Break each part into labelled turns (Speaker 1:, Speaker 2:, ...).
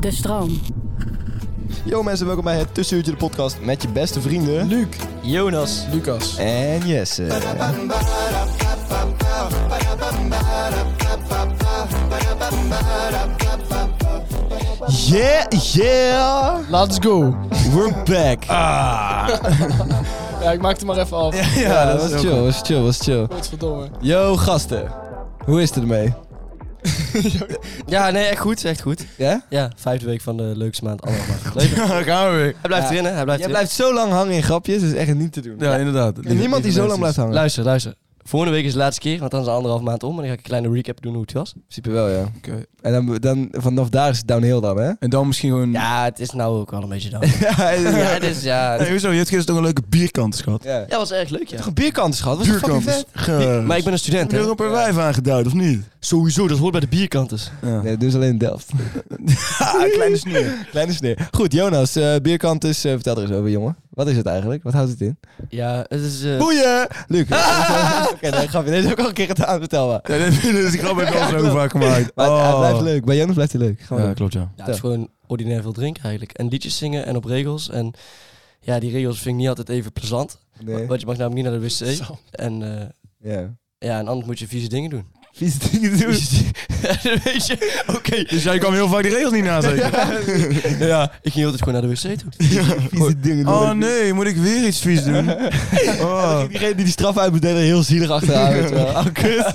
Speaker 1: De stroom.
Speaker 2: Yo mensen, welkom bij het Tussenuurtje de podcast met je beste vrienden... Luc, Jonas
Speaker 3: Lucas.
Speaker 2: en Jesse. Yeah, yeah!
Speaker 3: Let's go.
Speaker 2: We're back.
Speaker 3: Ja, ik maak het maar even af.
Speaker 2: ja, dat, was chill, was chill, was chill.
Speaker 3: Godverdomme.
Speaker 2: Yo gasten, hoe is het ermee?
Speaker 4: Ja, nee, echt goed. Echt goed.
Speaker 2: Ja?
Speaker 4: Ja, vijfde week van de leukste maand aller maanden. Leuk. Hij
Speaker 2: gaan we weer.
Speaker 4: blijft erin, hè? Hij blijft
Speaker 2: Jij
Speaker 4: erin.
Speaker 2: blijft zo lang hangen in grapjes, dat is echt niet te doen.
Speaker 5: Ja, inderdaad.
Speaker 2: En niemand die zo lang blijft hangen.
Speaker 4: Luister, luister. Volgende week is de laatste keer, want dan is het anderhalf maand om. En dan ga ik een kleine recap doen hoe het was.
Speaker 2: In principe wel, ja.
Speaker 5: Oké.
Speaker 2: En dan, dan, vanaf daar is het downhill dan, hè?
Speaker 5: En dan misschien gewoon...
Speaker 4: Ja, het is nou ook wel een beetje dan.
Speaker 2: ja,
Speaker 4: ja, het is, ja.
Speaker 5: Hey,
Speaker 4: het-
Speaker 5: dus- hoezo? Je hebt gisteren toch een leuke bierkant, schat?
Speaker 2: ja.
Speaker 4: Ja, was erg leuk, ja.
Speaker 2: Toch een bierkant, schat? Wat is dat fucking vet?
Speaker 5: Bierkant. Ge-
Speaker 4: Maar ik ben een student, hè?
Speaker 5: Euro per wijf aangeduid, of niet?
Speaker 4: Sowieso, dat hoort bij de bierkanters.
Speaker 5: Ja.
Speaker 2: Nee, dus alleen in Delft.
Speaker 5: kleine sneer.
Speaker 2: Kleine sneer. Goed, Jonas, eh, bierkant is... eh, vertel er eens over, jongen. Wat is het eigenlijk? Wat houdt het in?
Speaker 4: Ja, het is... eh,
Speaker 2: Boeien! Luc. Oké, nee, grapje. Deze heb ik al een keer gedaan, vertel maar.
Speaker 5: Ja, dit dit is grap heb ik al zo vaak gemaakt.
Speaker 2: Maar het- het
Speaker 5: Oh.
Speaker 2: blijft leuk. Bij Jonas blijft hij leuk. Gewoon
Speaker 5: Ja,
Speaker 2: leuk.
Speaker 5: klopt, ja.
Speaker 4: ja, het is gewoon ordinair veel drinken eigenlijk. En liedjes zingen en op regels. En ja, die regels vind ik niet altijd even plezant.
Speaker 2: Nee.
Speaker 4: Want je mag namelijk niet naar de wc.
Speaker 3: Zo.
Speaker 4: En eh,
Speaker 2: Ja.
Speaker 4: ja, en anders moet je vieze dingen doen.
Speaker 2: Vieze dingen doen.
Speaker 4: Weet je? Oké.
Speaker 5: Dus jij kwam heel vaak de regels niet na, zeker?
Speaker 4: Ja, ik ging altijd gewoon naar de wc toe.
Speaker 2: Vieze dingen doen.
Speaker 5: Oh nee, moet ik weer iets vies doen? Oh.
Speaker 2: Diegene die die straf uit moet delen, heel zielig achteraan. weet je wel.
Speaker 4: Oh, kut.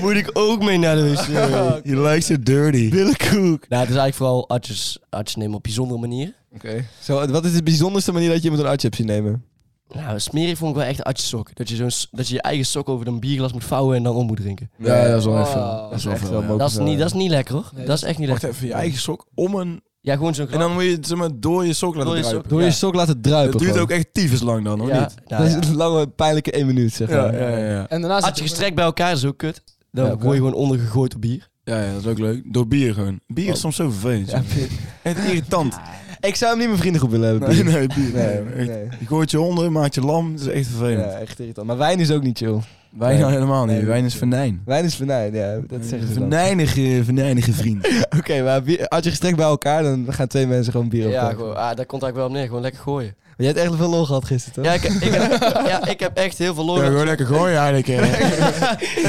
Speaker 4: Moet ik ook mee naar de wc? nou,
Speaker 5: Je lijkt zo dirty.
Speaker 2: Billenkoek.
Speaker 4: het is eigenlijk vooral artjes, artjes nemen op bijzondere manieren.
Speaker 2: Oké. Zo, Wat is de bijzonderste manier dat je iemand een arts hebt zien nemen?
Speaker 4: Nou, smerig vond ik wel echt artjes sok. Dat je, zo'n, s- dat je je eigen sok over een bierglas moet vouwen en dan om moet drinken.
Speaker 2: Ja, dat is
Speaker 3: wel
Speaker 2: wel
Speaker 3: echt
Speaker 2: even.
Speaker 3: veel. Dat
Speaker 2: is
Speaker 5: wel veel, ja.
Speaker 4: Dat is, niet, dat is niet lekker hoor.
Speaker 3: Nee,
Speaker 4: dat is echt niet
Speaker 5: Wacht
Speaker 4: lekker.
Speaker 5: even, je eigen sok om een...
Speaker 4: Ja, gewoon zo'n
Speaker 5: En dan moet je het zeg maar, door je sok laten
Speaker 4: Door je sok.
Speaker 5: druipen.
Speaker 2: Door je
Speaker 4: Ja.
Speaker 2: sok laten druipen.
Speaker 5: Het duurt
Speaker 2: gewoon.
Speaker 5: ook echt tyfus lang dan, hoor.
Speaker 4: ja,
Speaker 5: niet?
Speaker 4: nou
Speaker 2: dat
Speaker 4: ja.
Speaker 2: is een lange, pijnlijke één minuut, zeg
Speaker 5: Ja,
Speaker 2: maar.
Speaker 5: ja, ja, ja.
Speaker 3: En daarnaast...
Speaker 4: Had je gestrekt bij elkaar is ook kut. Dan
Speaker 2: Ja,
Speaker 4: word je gewoon ondergegooid op bier.
Speaker 5: Ja, ja, dat is ook leuk. Door bier gewoon. Bier
Speaker 2: Oh.
Speaker 5: is soms zo vervelend.
Speaker 2: Ja,
Speaker 5: joh. Echt irritant.
Speaker 2: Ik zou hem niet mijn vriendengroep willen hebben.
Speaker 5: Nee,
Speaker 2: Piet.
Speaker 5: nee, bier.
Speaker 2: Nee,
Speaker 5: Nee, echt.
Speaker 2: nee.
Speaker 5: Je gooit je honden, maakt je lam. Dat is echt vervelend.
Speaker 2: Ja, echt irritant. Maar wijn is ook niet chill.
Speaker 5: Wijn
Speaker 2: Nee.
Speaker 5: nou helemaal niet.
Speaker 2: Nee,
Speaker 5: Wijn is
Speaker 2: nee.
Speaker 5: venijn.
Speaker 2: Wijn is venijn, ja. Dat zeggen ze dan.
Speaker 5: Venijnige, venijnige vriend.
Speaker 2: Oké, maar bier- als je gestrekt bij elkaar, dan gaan twee mensen gewoon bier op.
Speaker 4: Ja, gewoon, ah, daar komt eigenlijk wel op neer. Gewoon lekker gooien.
Speaker 2: Je hebt echt veel lol gehad gisteren, toch?
Speaker 4: Ja, ik, ik, heb, ja, ik heb echt heel veel
Speaker 5: Ja,
Speaker 4: loren.
Speaker 5: gewoon lekker gooien eigenlijk. eh.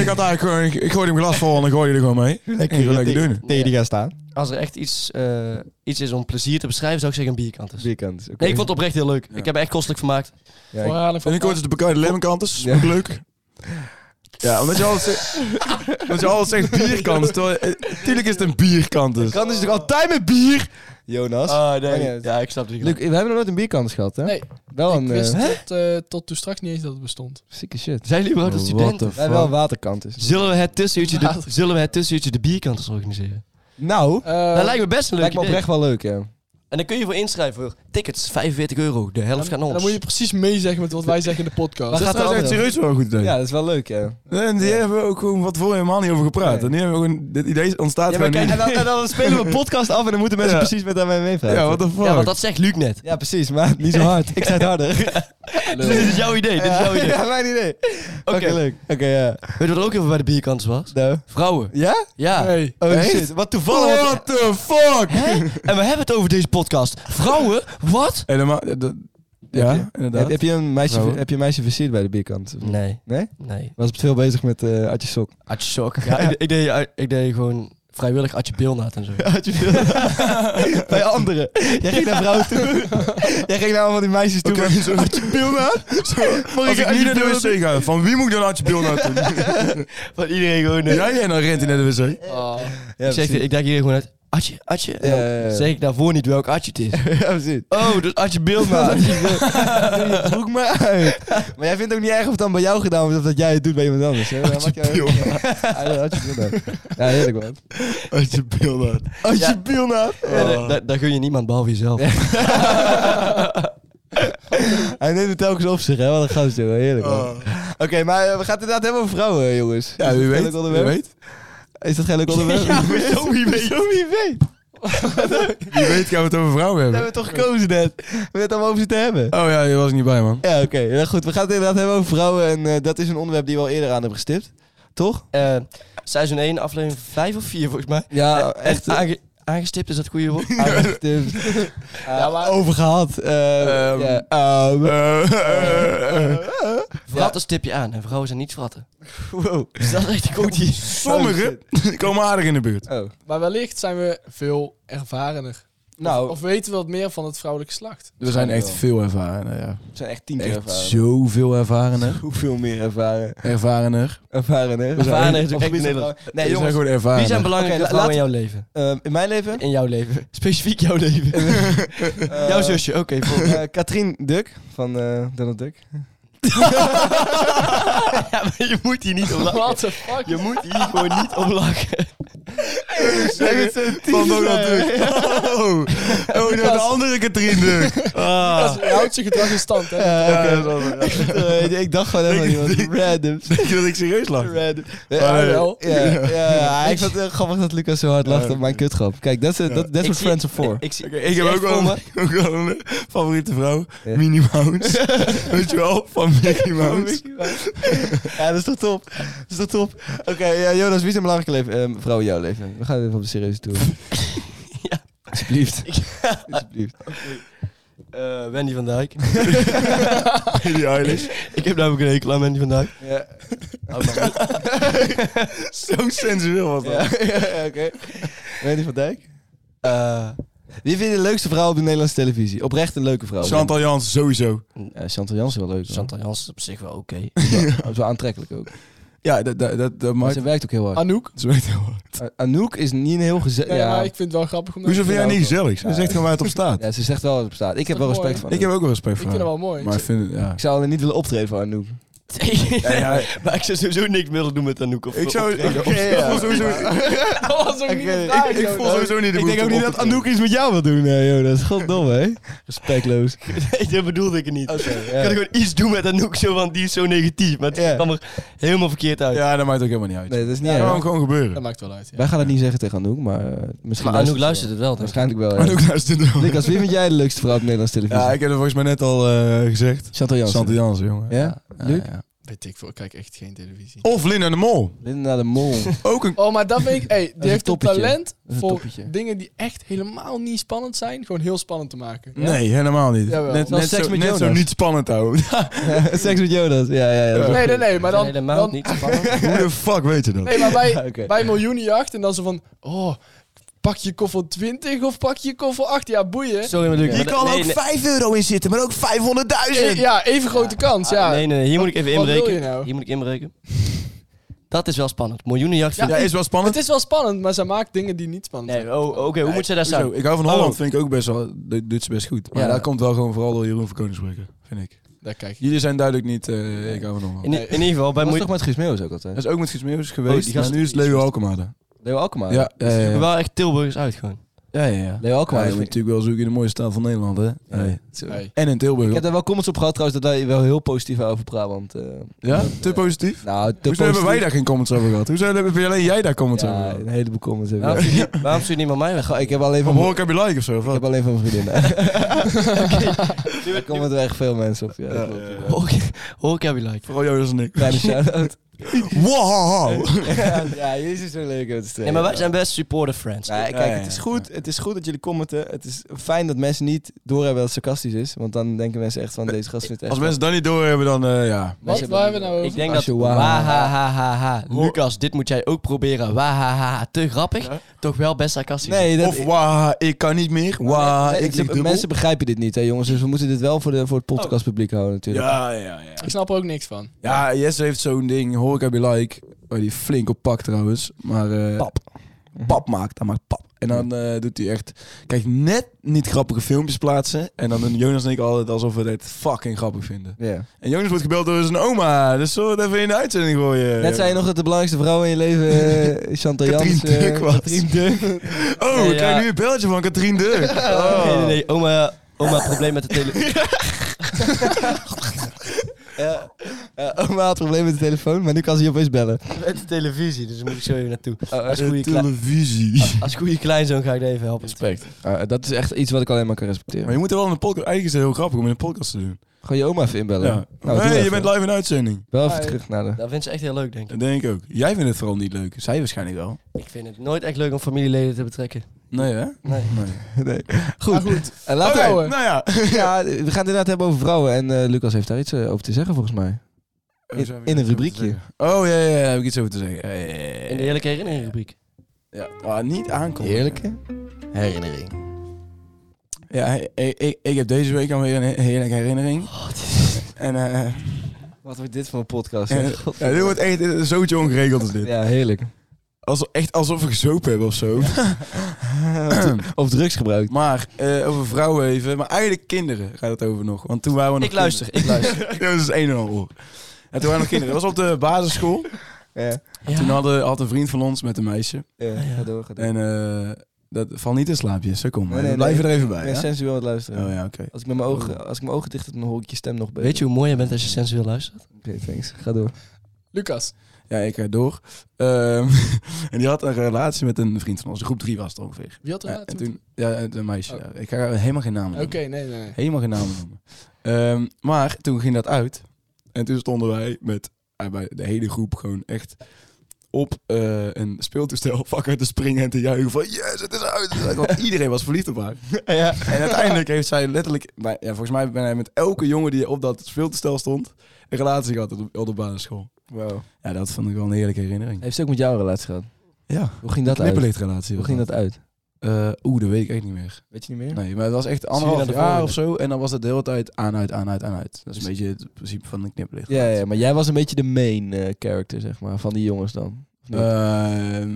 Speaker 5: ik had eigenlijk gewoon... Ik, ik gooide hem glas vol en dan gooi je er gewoon mee. En gewoon lekker
Speaker 2: tegen,
Speaker 5: doen.
Speaker 2: tegen die gaan staan.
Speaker 4: Als er echt iets, eh, iets is om plezier te beschrijven, zou ik zeggen een bierkant is.
Speaker 2: Bierkant. oké.
Speaker 4: Nee, ik vond het oprecht heel leuk.
Speaker 5: Ja.
Speaker 4: Ik heb er echt kostelijk vermaakt.
Speaker 2: Ja, ik-
Speaker 3: Voorhaling
Speaker 5: En
Speaker 3: van...
Speaker 5: ik hoorde de bekruide lemmenkanters.
Speaker 2: Ja.
Speaker 5: Ook leuk. Ja, omdat je altijd zegt, omdat je altijd zegt bierkanters. terwijl- eh, Tuurlijk is het een bierkanters.
Speaker 2: Kan dus toch altijd met bier? Jonas.
Speaker 4: Ah,
Speaker 2: Maakt niet uit.
Speaker 4: Ja, ik snap die
Speaker 2: Luc,
Speaker 4: grap.
Speaker 2: we hebben nog nooit een bierkant gehad, hè?
Speaker 3: Nee,
Speaker 2: Wel een...
Speaker 3: ik wist
Speaker 2: eh,
Speaker 3: tot, eh, tot toen straks niet eens dat het bestond.
Speaker 2: Zieke shit.
Speaker 4: Zijn jullie überhaupt een student?
Speaker 2: Wij hebben wel waterkanters.
Speaker 4: Zullen we het tussenuurtje de, zullen we het tussenuurtje de bierkanters organiseren?
Speaker 2: Nou,
Speaker 3: Eh,
Speaker 4: dat lijkt me best een leuk
Speaker 2: lijkt me
Speaker 4: idee.
Speaker 2: oprecht wel leuk, ja.
Speaker 4: En dan kun je voor inschrijven voor tickets, 45 euro. De helft gaat
Speaker 3: dan,
Speaker 4: naar
Speaker 3: dan
Speaker 4: ons.
Speaker 3: moet je precies meezeggen met wat wij zeggen in de
Speaker 5: Dat
Speaker 3: podcast.
Speaker 2: Waar
Speaker 5: is
Speaker 2: gaat de
Speaker 5: trouwens echt
Speaker 2: andere?
Speaker 5: serieus wel een goed idee.
Speaker 2: Ja, dat is wel leuk, ja.
Speaker 5: En die hebben we ook gewoon wat voor helemaal niet over gepraat.
Speaker 2: Nee.
Speaker 5: En die hebben we gewoon, dit idee ontstaat
Speaker 2: Ja, maar
Speaker 5: gewoon
Speaker 2: kijk,
Speaker 5: niet.
Speaker 2: en, dan, en dan spelen we een podcast af en dan moeten mensen
Speaker 5: Ja.
Speaker 2: precies met daarmee meepraten.
Speaker 5: Ja, wat de fuck.
Speaker 4: Ja, want dat zegt Luc net.
Speaker 2: Ja, precies, maar niet zo hard. Ik zei het harder.
Speaker 4: Dus dit is jouw idee, dit is jouw idee.
Speaker 2: ja, mijn idee. Oké, leuk. Oké, ja.
Speaker 4: Weet je wat ook even bij de bierkanters was?
Speaker 2: Nou.
Speaker 4: Vrouwen.
Speaker 2: Ja?
Speaker 4: Ja.
Speaker 3: Hey.
Speaker 2: Oh
Speaker 5: Echt?
Speaker 2: shit, wat toevallig.
Speaker 5: What the fuck?
Speaker 4: Hè? En we hebben het over deze podcast. Vrouwen? Wat?
Speaker 2: Eh,
Speaker 5: Helemaal, dat, ja,
Speaker 2: Heb,
Speaker 5: inderdaad.
Speaker 2: heb je een meisje,
Speaker 5: Vrouwen.
Speaker 2: heb je een meisje versierd bij de bierkant?
Speaker 4: Nee.
Speaker 2: Nee?
Speaker 4: Nee.
Speaker 2: Was het veel bezig met eh Artje Sok? eh,
Speaker 4: Atje sok. Ja, ik, ik deed, ik deed gewoon vrijwillig Adje Bilnaat en zo.
Speaker 2: Had je veel- Bij anderen. Jij ging naar vrouwen toe. Jij ging naar allemaal die meisjes toe.
Speaker 5: Oké, zo-
Speaker 2: Had je veel na? Mag
Speaker 5: Als ik nu naar de wc ga, van wie moet ik dan Adje Bil naartoe?
Speaker 2: Van iedereen gewoon. eh,
Speaker 5: Jij
Speaker 4: nou,
Speaker 5: en dan rent hij naar de wc.
Speaker 3: Ah.
Speaker 2: Ja,
Speaker 4: ik, zeg,
Speaker 2: precies.
Speaker 4: ik denk hier gewoon uit, Adje, Adje. En dan
Speaker 2: Ja, ja, ja.
Speaker 4: zeg ik daarvoor niet welk Adje het is.
Speaker 2: Ja, precies.
Speaker 4: oh, dus Adje Bilnaat.
Speaker 2: Doe je broek maar uit. Maar jij vindt het ook niet erg of het dan bij jou gedaan wordt of dat jij het doet bij iemand anders. Hè? Had je veel Had je veel Ja, heerlijk man.
Speaker 5: Adje Bil naartoe.
Speaker 2: Had je veel
Speaker 4: Ja, daar- daar- Daar gun je niemand behalve jezelf.
Speaker 2: Hij neemt het telkens op zich, hè? Wat een gast, joh. Heerlijk
Speaker 5: Oh.
Speaker 2: man. Oké, maar eh, we gaan het inderdaad hebben over vrouwen, jongens.
Speaker 5: Ja,
Speaker 2: Is dat
Speaker 5: wie
Speaker 2: geen
Speaker 5: weet.
Speaker 2: leuk
Speaker 5: Wie
Speaker 2: onderwerp?
Speaker 5: weet.
Speaker 2: Is dat geen leuk onderwerp?
Speaker 5: Ja, zo wie weet.
Speaker 2: Zo wie weet.
Speaker 5: Wie weet gaan we het over vrouwen
Speaker 2: Dat hebben
Speaker 5: hebben.
Speaker 2: we toch gekozen net. We hebben het allemaal over zitten hebben.
Speaker 5: Oh ja, je was er niet bij, man.
Speaker 2: Ja, oké. Ja, goed, we gaan het inderdaad hebben over vrouwen. En eh, dat is een onderwerp die we al eerder aan hebben gestipt. Toch?
Speaker 4: Eh, seizoen 1, aflevering 5 of 4 volgens mij.
Speaker 2: Ja,
Speaker 4: En
Speaker 2: echt.
Speaker 4: aange- aangestipt is dat het goede woord.
Speaker 2: Echt, eh,
Speaker 3: Ja, maar-
Speaker 2: Over gehad. Eh,
Speaker 5: Ehm,
Speaker 2: ja. Ehm,
Speaker 5: Eh, eh, eh.
Speaker 2: eh,
Speaker 4: Vratten stip je aan en vrouwen zijn niet vratten.
Speaker 2: wow.
Speaker 4: Dus dat is echt een goodie.
Speaker 5: Sommigen komen aardig in de buurt.
Speaker 2: Oh.
Speaker 3: Maar wellicht zijn we veel ervarener.
Speaker 2: Nou,
Speaker 3: Of weten we wat meer van het vrouwelijke geslacht.
Speaker 5: We zijn echt veel ervaren. Ja.
Speaker 2: we zijn echt tien keer
Speaker 5: Echt
Speaker 2: ervaren.
Speaker 5: zoveel ervarener.
Speaker 2: Hoeveel meer ervaren?
Speaker 5: Ervarener.
Speaker 2: Ervaren, hè?
Speaker 4: Ervaren is
Speaker 2: Of
Speaker 4: ook echt
Speaker 2: wie zijn
Speaker 4: Nederlands.
Speaker 2: vrouwen?
Speaker 4: Nee,
Speaker 5: We zijn
Speaker 4: jongens.
Speaker 5: gewoon
Speaker 4: Wie zijn
Speaker 5: ervaren.
Speaker 4: belangrijke
Speaker 2: Oké,
Speaker 4: vrouwen
Speaker 2: laat-
Speaker 4: in jouw leven?
Speaker 2: Ehm, in mijn leven?
Speaker 4: In jouw leven. Specifiek jouw leven.
Speaker 2: Eh,
Speaker 4: jouw zusje, oké. vol.
Speaker 2: eh, Katrien Duk van eh, Donald Duck.
Speaker 4: ja, maar je moet hier niet op lachen.
Speaker 3: What the fuck?
Speaker 4: Je moet hier gewoon niet op lachen.
Speaker 5: Van Donald Duck.
Speaker 4: nou,
Speaker 5: Oh, oh de andere Katrien Duk. Ah.
Speaker 3: Je houdt zijn gedrag in stand, hè?
Speaker 2: Eh,
Speaker 5: Ja,
Speaker 2: oké.
Speaker 5: dat was het,
Speaker 2: Eh, ik dacht gewoon helemaal
Speaker 5: Ik-
Speaker 2: niet. Random.
Speaker 5: Denk je dat ik serieus lag?
Speaker 2: Random.
Speaker 5: Maar, eh,
Speaker 3: wel.
Speaker 2: Ja, ja, ja, ik vond het heel grappig dat Lucas zo hard lacht
Speaker 5: Ja.
Speaker 2: op mijn kutgrap. Kijk, dat is eh, dat- that's
Speaker 4: Ik
Speaker 2: what
Speaker 4: zie-
Speaker 2: friends are for.
Speaker 4: Ik, ik zie,
Speaker 5: Oké, ik heb
Speaker 4: echt
Speaker 5: ook wel,
Speaker 4: voor
Speaker 5: een, ook wel een eh, favoriete vrouw.
Speaker 2: Ja.
Speaker 5: Minnie Mouse. Weet je wel? Van Mickey
Speaker 4: Oh,
Speaker 5: Mouse.
Speaker 2: ja, dat is toch top. Dat is toch top. Oké, ja, Jonas, wie is een belangrijke leven, eh, vrouw in jouw leven? We gaan even op de serieuze toer.
Speaker 4: Ja.
Speaker 2: Alsjeblieft. Alsjeblieft.
Speaker 4: Eh, Wendy van Dijk.
Speaker 5: Billie Eilish.
Speaker 4: ik heb namelijk een hekel aan Wendy van Dijk.
Speaker 2: Ja,
Speaker 5: Zo sensueel was dat.
Speaker 2: ja, ja, oké. Wendy van Dijk?
Speaker 4: Eh,
Speaker 2: Wie vind je de leukste vrouw op de Nederlandse televisie? Oprecht een leuke vrouw.
Speaker 5: Chantal Jans, sowieso.
Speaker 2: Eh, Chantal Jansen wel leuk. hoor.
Speaker 4: Chantal Jans is op zich wel oké.
Speaker 2: Ja, Zo aantrekkelijk ook.
Speaker 5: Ja, dat, dat, dat, dat
Speaker 2: Maar
Speaker 5: maakt...
Speaker 2: ze werkt ook heel hard.
Speaker 3: Anouk?
Speaker 5: Ze weet heel wat.
Speaker 2: A- Anouk is niet een heel gezellig...
Speaker 3: Nee,
Speaker 2: ja.
Speaker 3: maar ik vind het wel grappig. Om
Speaker 5: Hoezo vind jij
Speaker 2: ook
Speaker 5: niet
Speaker 2: wel.
Speaker 5: gezellig? Ze
Speaker 2: Ja.
Speaker 5: zegt gewoon waar het op staat.
Speaker 2: ja, ze zegt wel wat er bestaat. Ik heb
Speaker 3: toch
Speaker 2: wel respect
Speaker 3: mooi?
Speaker 2: van
Speaker 5: Ik heb
Speaker 2: haar.
Speaker 5: ook wel respect
Speaker 3: Ik
Speaker 5: voor
Speaker 3: vind het
Speaker 5: haar.
Speaker 3: wel mooi.
Speaker 5: Maar ik vind het... Ja.
Speaker 2: Ik zou alleen niet willen optreden voor Anouk.
Speaker 5: ja.
Speaker 4: maar ik zou sowieso niks willen doen met Anouk. Of
Speaker 5: Ik zou...
Speaker 4: optreden.
Speaker 5: Ik voel sowieso...
Speaker 3: Dat was ook
Speaker 2: Oké,
Speaker 3: niet de vraag,
Speaker 5: Ik voel
Speaker 3: Jonas.
Speaker 5: sowieso niet de
Speaker 2: Ik denk
Speaker 5: behoefte
Speaker 2: ook
Speaker 5: om
Speaker 2: niet
Speaker 5: op
Speaker 2: dat
Speaker 5: te treden.
Speaker 2: Anouk iets met jou wil doen, eh, Jonas. Goddomme, hè? Respectloos.
Speaker 4: Nee, dat bedoelde ik er niet.
Speaker 2: Oké,
Speaker 4: Ik
Speaker 2: ja.
Speaker 4: Oh, kan gewoon iets doen met Anouk, zo, want die is zo negatief. Maar het
Speaker 2: Ja.
Speaker 4: kwam er helemaal verkeerd uit.
Speaker 5: Ja, dat maakt ook helemaal niet uit.
Speaker 2: Nee, dat is niet
Speaker 5: Dat
Speaker 2: erg.
Speaker 5: kan gewoon gebeuren.
Speaker 3: Dat maakt wel uit, ja.
Speaker 2: Wij gaan het niet zeggen tegen Anouk, maar eh, misschien...
Speaker 4: het wel. dus
Speaker 2: ze wel. Waarschijnlijk wel, ja.
Speaker 5: Anouk luistert wel.
Speaker 2: Lucas, wie vind jij de leukste vrouw op de Nederlandse televisie?
Speaker 5: Ja, ik heb het volgens mij net al eh, gezegd.
Speaker 2: Chantal Jansen.
Speaker 5: Santi Jansen, jongen.
Speaker 2: Ja? Luc?
Speaker 5: ja.
Speaker 3: Weet ik veel, ik kijk echt geen televisie.
Speaker 5: Of Lin en de Mol.
Speaker 2: Linda de Mol.
Speaker 5: Ook een...
Speaker 3: Oh, maar dat vind ik... Hey,
Speaker 2: is een
Speaker 3: die heeft een
Speaker 2: toppetje.
Speaker 3: talent
Speaker 2: is een
Speaker 3: voor
Speaker 2: toppetje.
Speaker 3: dingen die echt helemaal niet spannend zijn, gewoon heel spannend te maken.
Speaker 5: Nee, helemaal niet.
Speaker 3: Jawel.
Speaker 5: Net,
Speaker 2: Dat
Speaker 5: net,
Speaker 2: is seks
Speaker 5: zo,
Speaker 2: met
Speaker 5: net zo
Speaker 2: Jonas.
Speaker 5: niet spannend houden.
Speaker 2: Seks met Jonas. Ja, ja, ja. dat is wel
Speaker 3: Nee, nee,
Speaker 2: goed.
Speaker 3: nee, maar dan... dan
Speaker 4: niet spannend.
Speaker 5: Hoe de fuck weet je dat?
Speaker 3: nee, maar bij,
Speaker 2: Oké.
Speaker 3: bij miljoenenjacht en dan zo van... Oh, pak je koffer 20 of pak je koffer 8? Ja, boeien.
Speaker 4: Sorry, maar Luc.
Speaker 5: Hier
Speaker 4: maar
Speaker 5: kan
Speaker 4: nee,
Speaker 5: ook
Speaker 4: nee.
Speaker 5: 5 euro in zitten, maar ook 500.000.
Speaker 3: E- ja, even grote kans, ja.
Speaker 4: Ah, Nee, nee, nee, hier moet ik even
Speaker 3: Wat wil je
Speaker 4: inbreken.
Speaker 3: nou?
Speaker 4: Hier moet ik inbreken. Dat is wel spannend. Miljoenenjacht
Speaker 3: Ja.
Speaker 4: vind
Speaker 5: Ja, is wel spannend.
Speaker 3: Het is wel spannend, maar zij maakt dingen die niet spannend zijn.
Speaker 4: Nee, oh, oké, hoe moet ze daar
Speaker 5: Hoezo?
Speaker 4: zijn?
Speaker 5: Ik hou van Holland,
Speaker 4: Oh.
Speaker 5: vind ik ook best wel. Dit doet ze best goed. Maar
Speaker 4: Ja.
Speaker 5: dat komt wel gewoon vooral door Jeroen van Koningsbrugge, vind ik.
Speaker 3: Daar kijk ik.
Speaker 5: Jullie zijn duidelijk niet. eh, ik hou van
Speaker 4: In,
Speaker 5: Holland.
Speaker 4: i- in ieder geval, bij
Speaker 2: Dat was toch
Speaker 4: miljoen...
Speaker 2: met Gismeeuws ook altijd?
Speaker 5: Dat is ook met Gesmeeuws geweest.
Speaker 4: Oh, die gast-
Speaker 5: maar nu is het Leo Alkemade.
Speaker 2: Leo Alkmaar.
Speaker 5: Ja, ja, ja, ja.
Speaker 4: wel echt Tilburgers uit gewoon.
Speaker 5: ja, ja, ja.
Speaker 2: Leo Alkmaar.
Speaker 5: Hij
Speaker 2: is
Speaker 5: moet
Speaker 2: goed.
Speaker 5: natuurlijk wel zoeken in de mooie staat van Nederland, hè? Hey.
Speaker 3: Hey.
Speaker 5: En in Tilburg.
Speaker 2: Ik heb daar wel comments op gehad trouwens dat wij wel heel positief waren over Brabant. eh.
Speaker 5: Ja?
Speaker 2: Dat,
Speaker 5: Te
Speaker 2: eh,
Speaker 5: positief?
Speaker 2: Nou, te
Speaker 5: Hoezo
Speaker 2: positief.
Speaker 5: hebben wij daar geen comments over gehad? Hoezo hebben alleen jij daar comments over
Speaker 2: Ja,
Speaker 5: gehad?
Speaker 2: een heleboel comments hebben
Speaker 4: Waarom
Speaker 2: we.
Speaker 4: stuur je, niet- waarom stuur je niet met mij weg?
Speaker 2: Goh, Ik heb alleen
Speaker 5: Van
Speaker 2: van, mijn-
Speaker 5: hoor ik heb je like of zo? Of
Speaker 2: ik
Speaker 5: wat?
Speaker 2: heb alleen van mijn vriendinnen. Daar komen er echt veel mensen op. Ja,
Speaker 5: Ja,
Speaker 2: klopt.
Speaker 5: ja, ja.
Speaker 4: Hoor ik- Hoor ik heb je like.
Speaker 5: Vooral Jonas en ik.
Speaker 2: Kleine shout-out.
Speaker 5: Wow!
Speaker 2: ja, ja, jullie zijn zo leuk om te
Speaker 4: Nee,
Speaker 2: strijden.
Speaker 4: maar wij zijn best supporter friends.
Speaker 2: Nou,
Speaker 5: Ja, ja,
Speaker 2: kijk, het is,
Speaker 5: ja.
Speaker 2: goed, het is goed dat jullie commenten. Het is fijn dat mensen niet doorhebben dat het sarcastisch is. Want dan denken mensen echt van, deze gast vindt het
Speaker 5: Als
Speaker 2: echt...
Speaker 5: mensen dat niet doorhebben, dan eh, ja.
Speaker 3: Wat?
Speaker 2: hebben
Speaker 3: Waar
Speaker 2: die-
Speaker 3: hebben we nou over?
Speaker 4: Ik denk
Speaker 2: Als
Speaker 4: dat...
Speaker 2: je waha-
Speaker 4: Wahahaha.
Speaker 5: Hoor-
Speaker 4: Lucas, dit moet jij ook proberen. Wahahaha. Te grappig.
Speaker 5: Ja.
Speaker 4: Toch wel best sarcastisch.
Speaker 2: Nee, dat,
Speaker 5: Of wauw, ik kan niet meer. Wauw,
Speaker 2: Nee,
Speaker 5: ik
Speaker 2: ze-
Speaker 5: lig dubbel.
Speaker 2: mensen begrijpen dit niet, hè, jongens. Dus we moeten dit wel voor, de, voor het podcastpubliek houden, natuurlijk.
Speaker 5: Ja, ja, ja.
Speaker 3: Ik snap er ook niks van.
Speaker 5: Ja, Jesse heeft zo'n ding, hoor ik je like. Waar die flink op pakt trouwens. Maar eh, pap. Pap maakt, hij maakt pap. En dan eh, doet hij echt, kijk, net niet grappige filmpjes plaatsen. En dan doen Jonas en ik altijd alsof we dit fucking grappig vinden.
Speaker 2: Ja.
Speaker 5: En Jonas wordt gebeld door zijn oma. Dus zullen we het even in de uitzending gooien?
Speaker 2: Net zei je nog dat de belangrijkste vrouw in je leven eh, Chantal
Speaker 5: Eh, Katrien
Speaker 2: Jans... eh,
Speaker 5: Duk was.
Speaker 2: Katrien Duk.
Speaker 5: Oh,
Speaker 4: Nee,
Speaker 5: ik krijg
Speaker 4: ja.
Speaker 5: nu een beltje van Katrien Duk. Oh.
Speaker 4: Nee, nee, nee. Oma, oma probleem met de telefoon.
Speaker 2: Ja. Ja, Eh, oma had problemen met de telefoon, maar nu kan ze je opeens bellen.
Speaker 4: met de televisie, dus daar moet ik zo even naartoe. Als
Speaker 5: Eh,
Speaker 4: goede, klei-
Speaker 5: televisie.
Speaker 4: als goede kleinzoon ga ik er even helpen.
Speaker 2: Respect. dat is echt iets wat ik alleen maar kan
Speaker 5: Maar
Speaker 2: respecteren.
Speaker 5: je moet er wel een podcast... Eigenlijk is het heel grappig om in een podcast te doen.
Speaker 2: Gewoon je oma even inbellen. Nou, doe
Speaker 5: hey, je
Speaker 2: even.
Speaker 5: bent live in de uitzending.
Speaker 2: Wel even
Speaker 4: Hi.
Speaker 2: terug naar de...
Speaker 4: Dat vindt ze echt heel leuk, denk ik.
Speaker 5: Dat denk ik ook. Jij vindt het vooral niet leuk. Zij waarschijnlijk wel.
Speaker 4: Ik vind het nooit echt leuk om familieleden te betrekken.
Speaker 5: Nee, hè?
Speaker 4: Nee.
Speaker 2: Nee. Eh, Goed.
Speaker 3: Maar goed,
Speaker 2: En laten
Speaker 5: Ah, Oké,
Speaker 3: vrouwen.
Speaker 5: nou ja.
Speaker 2: we, ja, we gaan het inderdaad hebben over vrouwen. En eh, Lucas heeft daar iets eh, over te zeggen, volgens mij. In-
Speaker 5: zo heb ik
Speaker 2: in een
Speaker 5: iets over
Speaker 2: rubriekje.
Speaker 5: te zeggen. Oh, ja, ja, ja, heb ik iets over te zeggen. Ja, ja, ja, ja.
Speaker 4: In de heerlijke herinneringenrubriek.
Speaker 5: Ja, ah, niet aankomen.
Speaker 2: Heerlijke.
Speaker 4: Herinnering.
Speaker 5: Ja, he- he- ik, ik heb deze week alweer een he- heerlijke herinnering.
Speaker 2: Oh,
Speaker 5: En eh
Speaker 2: Wat wordt dit voor een podcast?
Speaker 5: hè? ja, dit wordt echt eh, zootje ongeregeld als dit.
Speaker 2: Ja, heerlijk.
Speaker 5: Als, echt alsof we gezopen hebben of zo.
Speaker 2: of drugs gebruikt.
Speaker 5: Maar eh, over vrouwen even. Maar eigenlijk kinderen gaat het over nog. Want toen waren we nog
Speaker 4: Ik luister, ik luister.
Speaker 5: kinderen. dat is het een en ander. hoor. En toen waren we nog kinderen. Dat was op de basisschool.
Speaker 2: Ja,
Speaker 5: Toen hadden, had een vriend van ons met een meisje.
Speaker 2: Ah, ja, ga door, ga door.
Speaker 5: En eh, dat valt niet in slaapje. Zo kom.
Speaker 2: Nee, nee,
Speaker 5: we blijven
Speaker 2: nee.
Speaker 5: er even bij.
Speaker 2: Ik ben
Speaker 5: hè?
Speaker 2: sensueel aan het luisteren.
Speaker 5: Oh ja, oké.
Speaker 2: Als ik met mijn ogen, als ik mijn ogen dicht doe, dan hoor ik je stem nog beter.
Speaker 4: Weet je hoe mooi je bent als je sensueel luistert?
Speaker 2: Oké, thanks. Ga door.
Speaker 3: Lucas.
Speaker 5: Ja, ik ga door. Ehm, en die had een relatie met een vriend van ons. Groep 3 was het ongeveer.
Speaker 3: Wie had er
Speaker 5: Ja, en
Speaker 3: laatst met-
Speaker 5: toen, ja, een meisje.
Speaker 3: Oh.
Speaker 5: ja. Ik ga helemaal geen naam
Speaker 3: Oké,
Speaker 5: noemen.
Speaker 3: nee, nee, nee.
Speaker 5: Helemaal geen naam noemen. Ehm, maar toen ging dat uit. En toen stonden wij met eh, bij de hele groep gewoon echt op eh, een speeltoestel vakken te springen en te juichen van yes, het is uit. Het is uit. Want iedereen was verliefd op haar. En uiteindelijk heeft zij letterlijk, bij, ja, volgens mij ben hij met elke jongen die op dat speeltoestel stond, een relatie gehad op de, op de basisschool.
Speaker 2: Wow.
Speaker 5: Ja, dat vond ik wel een heerlijke herinnering.
Speaker 2: Heeft ze ook met jou een relatie gehad?
Speaker 5: Ja,
Speaker 2: Hoe ging dat uit?
Speaker 5: knipperlichtrelatie.
Speaker 2: Hoe ging dat uit?
Speaker 5: Eh, Oeh, dat weet ik echt niet meer.
Speaker 2: Weet je niet meer?
Speaker 5: Nee, maar het was echt
Speaker 4: naar
Speaker 5: anderhalf
Speaker 4: de
Speaker 5: jaar
Speaker 4: volgende.
Speaker 5: of zo. En dan was het de hele tijd aan, uit, aan, uit, aan, uit. Dat is een beetje het principe van een knipperlicht.
Speaker 2: Ja, ja, maar jij was een beetje de main eh, character, zeg maar, van die jongens dan. Of niet?
Speaker 5: Ehm,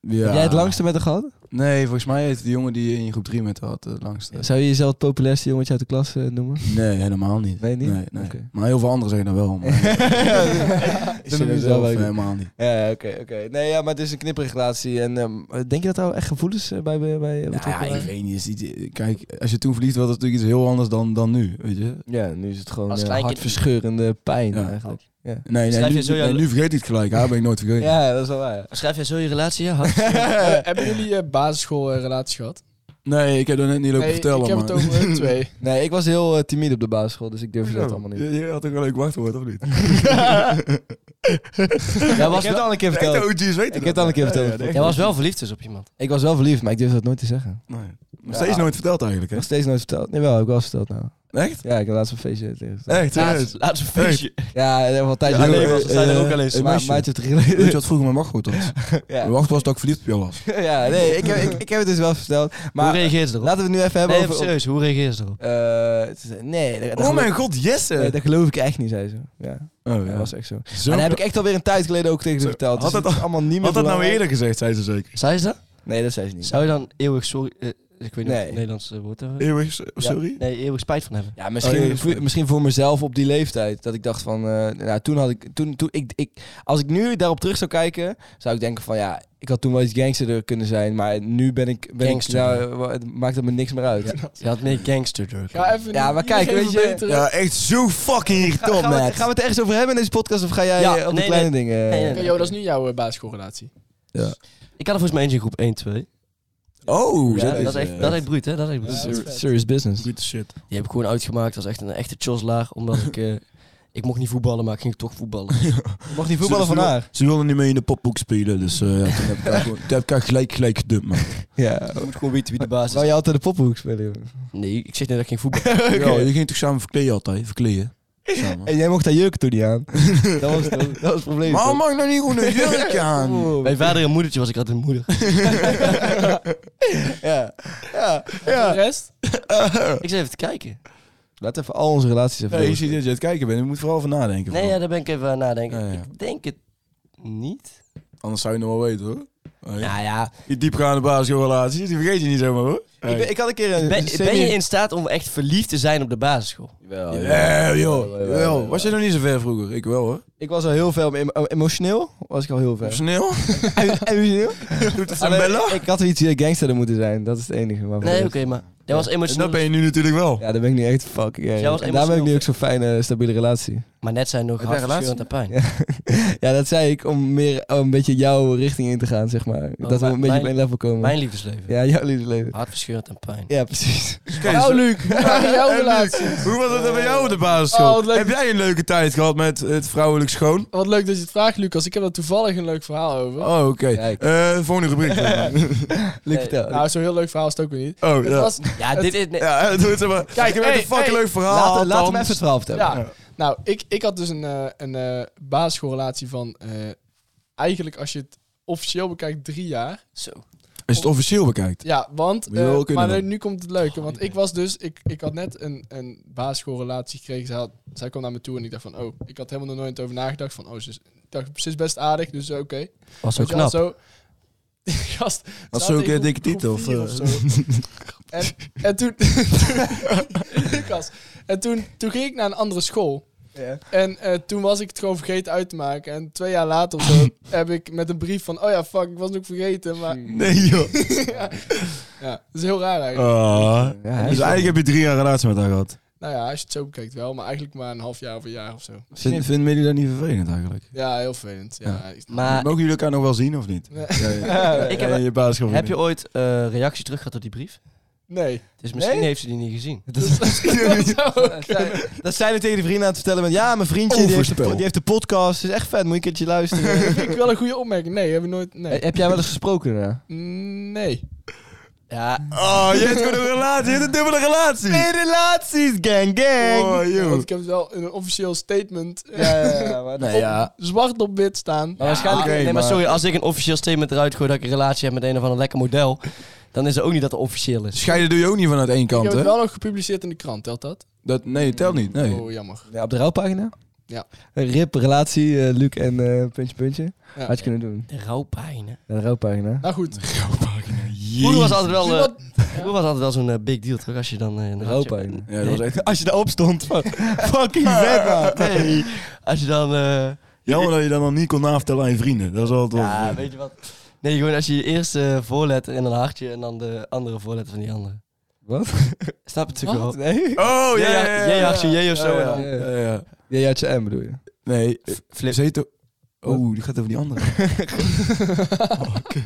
Speaker 5: ja.
Speaker 2: Heb jij het langste met haar gehad?
Speaker 5: Nee, volgens mij heeft de jongen die je in groep 3 met haar had het langste.
Speaker 2: Zou je jezelf het populairste jongetje uit de klas eh, noemen?
Speaker 5: Nee, helemaal niet.
Speaker 2: Nee, niet?
Speaker 5: Nee, nee.
Speaker 2: Oké.
Speaker 5: Maar heel veel anderen zeggen dat wel. Maar ik zeg
Speaker 2: noem je
Speaker 5: dat
Speaker 2: zelf
Speaker 5: zelf
Speaker 2: ook.
Speaker 5: helemaal niet.
Speaker 2: Ja, oké, oké. Nee, ja, maar het is een knipperrelatie. En ehm, denk je dat er wel echt gevoelens eh, bij bij, bij
Speaker 5: Nou ja,
Speaker 2: betrokken
Speaker 5: ik
Speaker 2: waren?
Speaker 5: weet niet. is iets- Kijk, als je toen verliefd was, was het natuurlijk iets heel anders dan, dan nu, weet je?
Speaker 2: Ja, nu is het gewoon
Speaker 4: Als
Speaker 2: eh,
Speaker 4: klein kind-
Speaker 2: hartverscheurende pijn
Speaker 5: Ja.
Speaker 2: eigenlijk.
Speaker 5: Nee, nee,
Speaker 4: Schrijf
Speaker 5: nu,
Speaker 4: je zo
Speaker 5: nee,
Speaker 4: jouw-
Speaker 5: nu vergeet ik het gelijk. Haar ben ik nooit vergeten.
Speaker 2: Ja, dat is wel waar.
Speaker 4: Schrijf jij zo je relatie? Ja, hart.
Speaker 3: Eh, hebben jullie eh, basisschool eh, relatie gehad?
Speaker 5: Nee, ik heb dat net niet lopen
Speaker 3: Nee,
Speaker 5: vertellen,
Speaker 3: ik heb
Speaker 5: maar...
Speaker 3: het over hun twee.
Speaker 2: Nee, ik was heel eh, timide op de basisschool, dus ik durfde dat allemaal niet.
Speaker 5: Je, je had ook wel een leuk wachtwoord, of niet?
Speaker 2: Jij was
Speaker 4: Ik heb
Speaker 2: wel een keer
Speaker 5: De echte OG's weten
Speaker 2: Ik heb het al een keer verteld.
Speaker 4: Jij was wel verliefd dus op iemand.
Speaker 2: Ik was wel verliefd, maar ik durfde dat nooit te zeggen.
Speaker 5: Nee. Nog steeds nooit verteld eigenlijk, hè?
Speaker 2: Nog steeds nooit verteld. Nee, wel, ik heb wel eens verteld nou.
Speaker 5: Echt?
Speaker 2: Ja, ik heb laatst een feestje tegen.
Speaker 5: Echt, serieus.
Speaker 4: Laatst, laatst een feestje.
Speaker 2: Ja, dat was een tijdje
Speaker 4: Ja,
Speaker 2: geleden.
Speaker 4: nee, want we zijn er
Speaker 2: Eh,
Speaker 4: ook al eens.
Speaker 2: een ma-
Speaker 5: Meisje.
Speaker 2: maandje of drie
Speaker 5: Weet je
Speaker 2: geleden.
Speaker 5: wat vroeger mijn wachtwoord was? Mijn
Speaker 2: Ja.
Speaker 5: wachtwoord was dat ik verliefd op jou was.
Speaker 2: ja, nee, ik heb, ik, ik heb het dus wel verteld. Maar
Speaker 4: hoe reageert ze erop?
Speaker 2: laten we het nu even hebben
Speaker 4: Nee,
Speaker 2: over...
Speaker 4: serieus, hoe reageert ze erop?
Speaker 2: Eh, het is- nee, dat, dat
Speaker 5: Oh
Speaker 2: geloof,
Speaker 5: mijn god,
Speaker 2: nee,
Speaker 5: Jesse!
Speaker 2: dat geloof ik echt niet, zei ze. Ja,
Speaker 5: Oh
Speaker 2: dat
Speaker 5: ja.
Speaker 2: was echt zo.
Speaker 5: Zo-
Speaker 2: Maar dat heb ik echt alweer een tijd geleden ook tegen ze
Speaker 5: Zo,
Speaker 2: verteld.
Speaker 5: had
Speaker 2: Dus
Speaker 5: dat
Speaker 2: het is allemaal niet meer
Speaker 5: Had dat nou
Speaker 2: belangrijk.
Speaker 5: eerder gezegd, zei ze zeker.
Speaker 4: Zei ze dat?
Speaker 2: Nee, dat zei ze niet.
Speaker 4: Zou je dan eeuwig sorry... eh, ik weet niet of
Speaker 2: Nee.
Speaker 4: het Nederlands eh, woord hebben.
Speaker 5: Eeuwig, s- sorry?
Speaker 4: Nee, eeuwig spijt van hebben.
Speaker 2: Ja, misschien,
Speaker 5: Oh, ja,
Speaker 2: voor, misschien voor mezelf op die leeftijd. Dat ik dacht van, eh, nou, toen had ik, toen, toen ik, ik, als ik nu daarop terug zou kijken, zou ik denken van, ja, ik had toen wel iets gangsterder kunnen zijn, maar nu ben ik, ben ik
Speaker 4: Gangster.
Speaker 2: nou, eh, wa- het maakt het me niks meer uit.
Speaker 4: Je had meer gangster druk.
Speaker 3: Ga even
Speaker 2: Ja, maar kijk, weet je-
Speaker 5: Ja, echt zo fucking irritant,
Speaker 2: gaan, we,
Speaker 5: man.
Speaker 2: het- gaan we het ergens over hebben in deze podcast of ga jij
Speaker 4: Ja,
Speaker 2: eh, op de
Speaker 4: nee,
Speaker 2: kleine dingen?
Speaker 4: Nee, nee,
Speaker 3: Oké,
Speaker 4: nee.
Speaker 3: joh, dat is nu jouw eh, basisschoolrelatie.
Speaker 4: Ik had er volgens mij eentje in groep 1, 2.
Speaker 5: Oh,
Speaker 4: Ja, dat,
Speaker 5: is
Speaker 4: is echt, dat is echt bruut, hè? Dat is echt bruut.
Speaker 3: Ja, dat is vet.
Speaker 2: Serious business.
Speaker 5: Brute shit.
Speaker 4: Die heb ik gewoon uitgemaakt als echt een echte choslaar. Omdat ik... eh, Ik mocht niet voetballen, maar ik ging toch voetballen.
Speaker 2: Mocht niet voetballen
Speaker 5: Ze-
Speaker 2: van
Speaker 5: ze-
Speaker 2: haar.
Speaker 5: Ze wilden niet mee in de popboek spelen, dus eh, ja, toen heb ik haar gewoon- toen heb ik haar gelijk, gelijk gedumpt, man.
Speaker 2: Ja.
Speaker 4: Je moet gewoon weten wie de baas
Speaker 2: Zou
Speaker 4: is.
Speaker 2: je altijd de poppenhoek spelen? jongen?
Speaker 4: Nee, ik zeg net dat ik ging voetballen.
Speaker 5: Ja, je ging toch samen verkleden altijd? Verkleden? Samen.
Speaker 2: En jij mocht dat jurk toen niet aan. dat, was, dat was het probleem.
Speaker 5: Maar
Speaker 2: toch?
Speaker 5: mag ik nou niet gewoon een jurkje aan?
Speaker 2: Oh.
Speaker 4: Mijn vader en moedertje was ik altijd een moeder.
Speaker 2: Ja. Ja.
Speaker 3: De
Speaker 2: ja.
Speaker 3: rest?
Speaker 4: Ik zei even te kijken.
Speaker 2: Laat even al onze relaties even
Speaker 5: Nee, je
Speaker 2: door.
Speaker 5: ziet dat je aan het kijken bent. Je moet vooral van nadenken.
Speaker 4: Nee,
Speaker 5: vooral.
Speaker 4: ja, daar ben ik even aan nadenken.
Speaker 5: Ja, ja.
Speaker 4: Ik denk het niet.
Speaker 5: Anders zou je nog wel weten, hoor. Hey.
Speaker 4: Nou ja,
Speaker 5: Die diepgaande basisschoolrelaties, die vergeet je niet zomaar, hoor.
Speaker 2: Ik, ben, ik had een keer een
Speaker 4: ben,
Speaker 2: semi-
Speaker 4: ben je in staat om echt verliefd te zijn op de basisschool?
Speaker 2: Jawel,
Speaker 5: Ja,
Speaker 2: jawel.
Speaker 5: joh.
Speaker 2: Jawel,
Speaker 5: Jawel.
Speaker 2: jawel.
Speaker 5: Was jij nog niet zo ver vroeger? Ik wel, hoor.
Speaker 2: Ik was al heel veel em- emotioneel. Was ik al heel ver.
Speaker 5: Personeel?
Speaker 2: emotioneel?
Speaker 5: Doet het
Speaker 2: Alleen,
Speaker 5: bellen?
Speaker 2: Ik had iets gangster moeten zijn. Dat is het enige. Maar voor
Speaker 4: Nee,
Speaker 2: de
Speaker 4: oké,
Speaker 2: rest-
Speaker 4: maar jij was
Speaker 5: En dat
Speaker 4: emotioneel.
Speaker 5: ben je nu natuurlijk wel.
Speaker 2: Ja, daar ben ik nu echt fucking erg.
Speaker 4: Dus jij was
Speaker 2: En daar ben ik nu
Speaker 4: emotioneel
Speaker 2: ook zo'n fijne, stabiele relatie.
Speaker 4: Maar net zijn nog
Speaker 5: Heb jij een
Speaker 4: hartverscheurend aan pijn.
Speaker 2: Ja. Ja, dat zei ik om meer om een beetje jouw richting in te gaan, zeg maar. dat we
Speaker 4: Oh, mijn-
Speaker 2: een beetje op
Speaker 4: mijn-
Speaker 2: één level komen.
Speaker 4: Mijn Ah. liefdesleven.
Speaker 2: Ja, jouw liefdesleven.
Speaker 4: Hartverscheurend aan pijn.
Speaker 2: Ja, precies.
Speaker 3: Nou, Luc. Jouw
Speaker 5: Hey, Luc,
Speaker 3: relatie.
Speaker 5: Hoe was het dan bij jou op de basisschool?
Speaker 3: Oh, wat leuk.
Speaker 5: Heb jij een leuke tijd gehad met het vrouwelijk schoon?
Speaker 3: Wat leuk dat je het vraagt, Lucas. Ik heb daar toevallig een leuk verhaal over.
Speaker 5: Oh, oké.
Speaker 2: Kijk.
Speaker 5: Eh, volgende rubriek.
Speaker 2: Luc,
Speaker 4: Nee, Ah,
Speaker 2: vertel.
Speaker 3: Nou, zo'n heel leuk verhaal is het ook weer niet.
Speaker 5: oh,
Speaker 3: Het
Speaker 5: ja.
Speaker 3: was,
Speaker 4: Ja, dit is... nee,
Speaker 5: Ja, doe het maar.
Speaker 3: Kijk,
Speaker 5: Kijk, ik heb echt
Speaker 3: hey,
Speaker 5: een fucking
Speaker 3: hey.
Speaker 5: leuk verhaal.
Speaker 2: laat, laat hem
Speaker 5: althans.
Speaker 2: even het verhaal vertellen.
Speaker 3: ja. Nou, ik, ik had dus een, eh, een eh, basisschoolrelatie van eh, eigenlijk als je het officieel bekijkt drie jaar.
Speaker 4: Zo.
Speaker 5: Als je het officieel bekijkt.
Speaker 3: Ja, want...
Speaker 5: Moet je wel
Speaker 3: eh,
Speaker 5: kunnen
Speaker 3: maar
Speaker 5: dan.
Speaker 3: nu- nu komt het leuke. Want
Speaker 4: Oh,
Speaker 3: ik was dus... Ik, ik had net een, een basisschoolrelatie gekregen. Zij, had, zij kwam naar me toe en ik dacht van... Oh, ik had helemaal nog nooit over nagedacht. Van, oh, ze is, ik dacht, ze is best aardig. Dus eh, oké.
Speaker 4: Was ook
Speaker 3: Weet je wel,
Speaker 4: knap.
Speaker 3: Zo, gast, we
Speaker 5: Was
Speaker 3: zaten
Speaker 5: ze ook,
Speaker 3: in
Speaker 5: eh, dikke
Speaker 3: groep-
Speaker 5: titel,
Speaker 3: groep vier
Speaker 5: of,
Speaker 3: zo. en, en toen... Lucas, en toen, toen ging ik naar een andere school. En eh, toen was ik het gewoon vergeten uit te maken. En twee jaar later of zo heb ik met een brief van... Oh ja, fuck, ik was het ook vergeten. Maar
Speaker 5: Nee, joh.
Speaker 3: ja, dat is heel raar eigenlijk.
Speaker 5: Ah.
Speaker 2: Ja, hij
Speaker 5: dus
Speaker 2: is-
Speaker 5: eigenlijk heb je drie jaar relatie met haar gehad.
Speaker 3: Nou ja, als je het zo bekijkt wel. Maar eigenlijk maar een half jaar of een jaar of zo.
Speaker 5: Vind, vinden jullie dat niet vervelend eigenlijk?
Speaker 3: Ja, heel vervelend. Ja,
Speaker 4: Maar
Speaker 5: Mogen jullie elkaar nog wel zien of niet?
Speaker 3: Nee.
Speaker 5: Ja, ja.
Speaker 4: Ik
Speaker 5: Ja,
Speaker 4: heb-
Speaker 5: je basisschool.
Speaker 4: heb je ooit eh reactie terug gehad op die brief?
Speaker 3: Nee.
Speaker 4: Dus misschien
Speaker 2: Nee?
Speaker 4: heeft ze die niet gezien.
Speaker 2: Dat zijn- Dat zijn we tegen de vrienden aan het vertellen met... Ja, mijn vriendje die heeft, de,
Speaker 5: Overspel.
Speaker 2: die heeft de podcast. is echt vet. Moet je een keertje luisteren.
Speaker 3: Dat vind ik wel een goede opmerking. Nee, hebben we nooit...
Speaker 4: Eh,
Speaker 3: Nee.
Speaker 2: Heb jij wel eens gesproken daarna?
Speaker 3: Nee.
Speaker 4: Ja,
Speaker 5: Oh, je hebt gewoon een relatie. Je hebt een dubbele relatie.
Speaker 2: Relaties, gang, gang.
Speaker 5: Oh,
Speaker 3: Ja, want
Speaker 5: joh.
Speaker 3: ik heb het wel in een officieel statement eh,
Speaker 2: Ja, ja, ja, maar
Speaker 5: Nee, ja.
Speaker 3: zwart op wit staan.
Speaker 4: maar waarschijnlijk.
Speaker 5: oké,
Speaker 4: nee, maar,
Speaker 5: maar-
Speaker 4: sorry, als ik een officieel statement eruit gooi dat ik een relatie heb met een of ander lekker model, dan is het ook niet dat het officieel is.
Speaker 5: Scheiden doe je ook niet vanuit één
Speaker 3: Ik
Speaker 5: kant,
Speaker 3: heb
Speaker 5: hè?
Speaker 3: het wel nog gepubliceerd in de krant, telt dat?
Speaker 5: Dat, nee, telt niet. Nee.
Speaker 3: Oh, jammer.
Speaker 2: Ja, op de rouwpagina?
Speaker 3: Ja.
Speaker 2: Rip, relatie, eh, Luc en eh, puntje, puntje.
Speaker 3: Ja.
Speaker 2: Had je kunnen doen.
Speaker 4: De rouwpijn. hè.
Speaker 2: Ja, de rouwpagina.
Speaker 3: Nou goed.
Speaker 4: Vroeger was altijd wel,
Speaker 3: Zie
Speaker 4: eh,
Speaker 3: wat-
Speaker 4: vroeger was altijd wel zo'n eh, big deal toch? Als je dan. eh, dan had je-
Speaker 2: Rouwpagina.
Speaker 5: Ja, dat was echt...
Speaker 2: Als je daarop stond, van, fucking vet, man.
Speaker 4: Nee, als je dan. eh,
Speaker 5: Jammer dat je dan nog niet kon navertellen aan je vrienden. Dat is altijd wel...
Speaker 4: ja, weet je wat? Nee, gewoon als je je eerste eh, voorletter en een hartje en dan de andere voorletter van die andere.
Speaker 2: Wat?
Speaker 4: Snap je natuurlijk wel?
Speaker 2: Nee?
Speaker 5: Oh, ja, ja, ja, ja.
Speaker 4: Jij hartje, jij of zo.
Speaker 2: Ja,
Speaker 4: en
Speaker 2: ja.
Speaker 4: dan-
Speaker 5: Ja, ja.
Speaker 2: Ja, je had je M, bedoel je?
Speaker 5: Nee,
Speaker 4: Flip.
Speaker 5: Zeto... Oh, die gaat over die andere. oh, kut.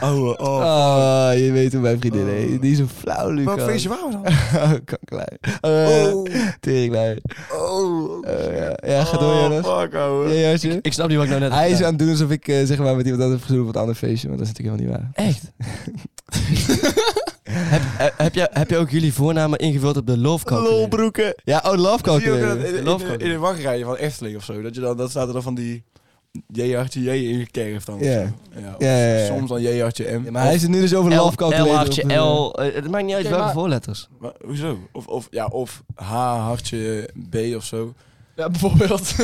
Speaker 5: Ouwe, oh.
Speaker 2: Oh, je weet hoe mijn vriendin heet. Die is een flauw, Luc. Oh,
Speaker 5: Welk feestje waren we dan?
Speaker 2: Kanklei. Uh, Teringlei.
Speaker 5: Oh.
Speaker 2: Eh, ja. ja, ga door, Jonas.
Speaker 5: Oh, fuck, ouwe.
Speaker 2: Ja, Jasje.
Speaker 4: Ik snap niet wat ik nou net heb
Speaker 2: Hij is aan
Speaker 4: gedaan.
Speaker 2: het doen alsof ik eh, zeg maar met iemand anders heb gezoend op een ander feestje, maar dat is natuurlijk helemaal niet waar.
Speaker 4: Echt? heb, eh, heb, jij, heb jij ook jullie voornamen ingevuld op de love calculator?
Speaker 5: Lolbroeken.
Speaker 2: Ja, oh, love
Speaker 5: Zie je ook dat in-
Speaker 2: calculator.
Speaker 5: in- in, in,
Speaker 4: Loofkolen.
Speaker 5: in de wachtrijen van Efteling of zo. Dat, je dan, dat staat er dan van die... J-hartje, J ingekerfd dan. of
Speaker 2: Ja.
Speaker 5: zo. ja. of
Speaker 2: Ja, ja, ja.
Speaker 5: Soms dan J-hartje, M.
Speaker 2: Ja, maar hij is het nu dus over
Speaker 4: L,
Speaker 2: love calculator.
Speaker 4: L,
Speaker 2: op,
Speaker 4: hartje,
Speaker 2: eh,
Speaker 4: L. eh, Het maakt niet uit
Speaker 3: Oké,
Speaker 4: welke
Speaker 3: maar-
Speaker 4: voorletters.
Speaker 5: Maar hoezo? Of, of, ja, of H, hartje, B of zo.
Speaker 3: Ja, bijvoorbeeld.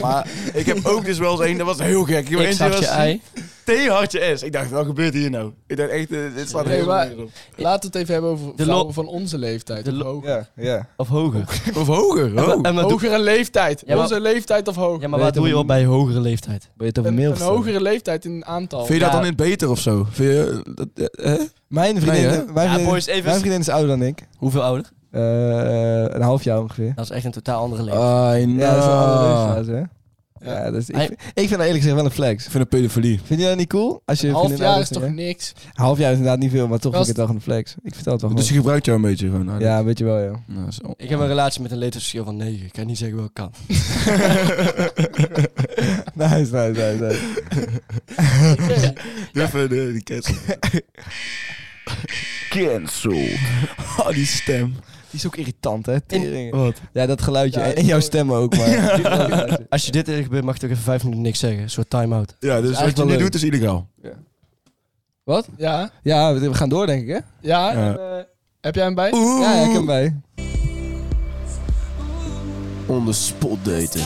Speaker 5: Maar ik heb ook dus wel eens één, dat was heel gek. Ik heb
Speaker 4: X,
Speaker 5: eentje
Speaker 4: hartje,
Speaker 5: was
Speaker 4: ei.
Speaker 5: T, hartje, S. Ik dacht, wat gebeurt hier nou? Ik dacht echt, eh, dit slaat
Speaker 3: Nee,
Speaker 5: helemaal
Speaker 3: maar-
Speaker 5: nergens
Speaker 3: Laten we het even hebben over
Speaker 4: De
Speaker 3: vrouwen
Speaker 4: lo-
Speaker 3: van onze leeftijd.
Speaker 4: De
Speaker 3: of
Speaker 4: lo-
Speaker 3: hoger.
Speaker 2: Ja, ja.
Speaker 4: Of hoger.
Speaker 5: op. Of hoger, oh.
Speaker 4: En wat doe,
Speaker 3: Hogere leeftijd.
Speaker 4: Ja, maar-
Speaker 3: Onze leeftijd of hoog.
Speaker 4: ja, maar wat doe je op bij hogere leeftijd?
Speaker 2: Ben je het over
Speaker 3: een,
Speaker 2: mail
Speaker 3: een hogere leeftijd in een
Speaker 2: ehm,
Speaker 3: aantal.
Speaker 5: Vind je dat
Speaker 4: Ja.
Speaker 5: dan niet beter of zo? Vind je, eh, dat, eh, hè?
Speaker 2: Mijn vriendin,
Speaker 5: Nee, hè?
Speaker 2: mijn, vriendin
Speaker 4: boys, even-
Speaker 2: mijn vriendin is ouder dan ik.
Speaker 4: Hoeveel ouder?
Speaker 2: Eh, een half jaar ongeveer.
Speaker 4: Dat is echt een totaal andere leeftijd.
Speaker 5: Ah, Nou.
Speaker 2: Ja, dat is een andere leeftijdsfase, hè? Ja, dus ik,
Speaker 4: Hij-
Speaker 2: vind- ik vind dat eerlijk gezegd wel een flex.
Speaker 5: Ik vind het pedofilie.
Speaker 2: Vind je dat niet cool? Als je
Speaker 3: Een half
Speaker 2: vriendin
Speaker 3: jaar
Speaker 2: ouders
Speaker 3: is toch
Speaker 2: vindt,
Speaker 3: niks?
Speaker 2: hè? Een half jaar is inderdaad niet veel, maar toch
Speaker 3: Dat
Speaker 2: vind ik het
Speaker 3: is-
Speaker 2: wel een flex. Ik vind dat wel
Speaker 5: Dus
Speaker 2: gewoon.
Speaker 5: je gebruikt jou een beetje gewoon. Adi.
Speaker 2: Ja, weet je wel, ja.
Speaker 5: Nou, dat is on-
Speaker 4: Ik heb een relatie met een leeftijdsverschil van 9. Ik kan niet zeggen welke kant.
Speaker 2: nice, nice, nice, nice.
Speaker 5: Even de, die cancel. cancel. Oh, die stem.
Speaker 2: Die is ook irritant, hè? Teringen.
Speaker 5: Wat?
Speaker 2: Ja, dat geluidje.
Speaker 3: Ja,
Speaker 2: en,
Speaker 3: dat
Speaker 2: en
Speaker 3: is
Speaker 2: jouw
Speaker 3: wel-
Speaker 2: stemmen ook, maar...
Speaker 4: Als je dit tegen gebeurt, mag je toch even vijf minuten niks zeggen. Een soort time-out.
Speaker 5: Ja, dus
Speaker 2: is
Speaker 5: wat
Speaker 2: eigenlijk
Speaker 5: je
Speaker 2: wel
Speaker 5: nu
Speaker 2: leuk.
Speaker 5: doet is illegaal.
Speaker 3: Ja,
Speaker 2: Ja, we we gaan door, denk ik, hè?
Speaker 5: Ja.
Speaker 3: ja. en, eh, heb jij hem bij?
Speaker 2: Ja, ja, ik heb hem bij.
Speaker 5: On the spot daten.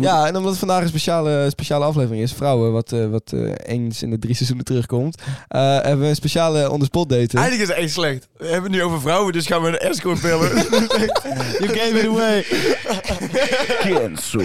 Speaker 2: Ja, en omdat het vandaag een speciale, speciale aflevering is, vrouwen, wat, eh, wat eh, eens in de drie seizoenen terugkomt, eh, hebben we een speciale on the spot date.
Speaker 5: Eigenlijk is het echt slecht. We hebben het nu over vrouwen, dus gaan we een escort bellen.
Speaker 2: You gave it away.
Speaker 5: cancel.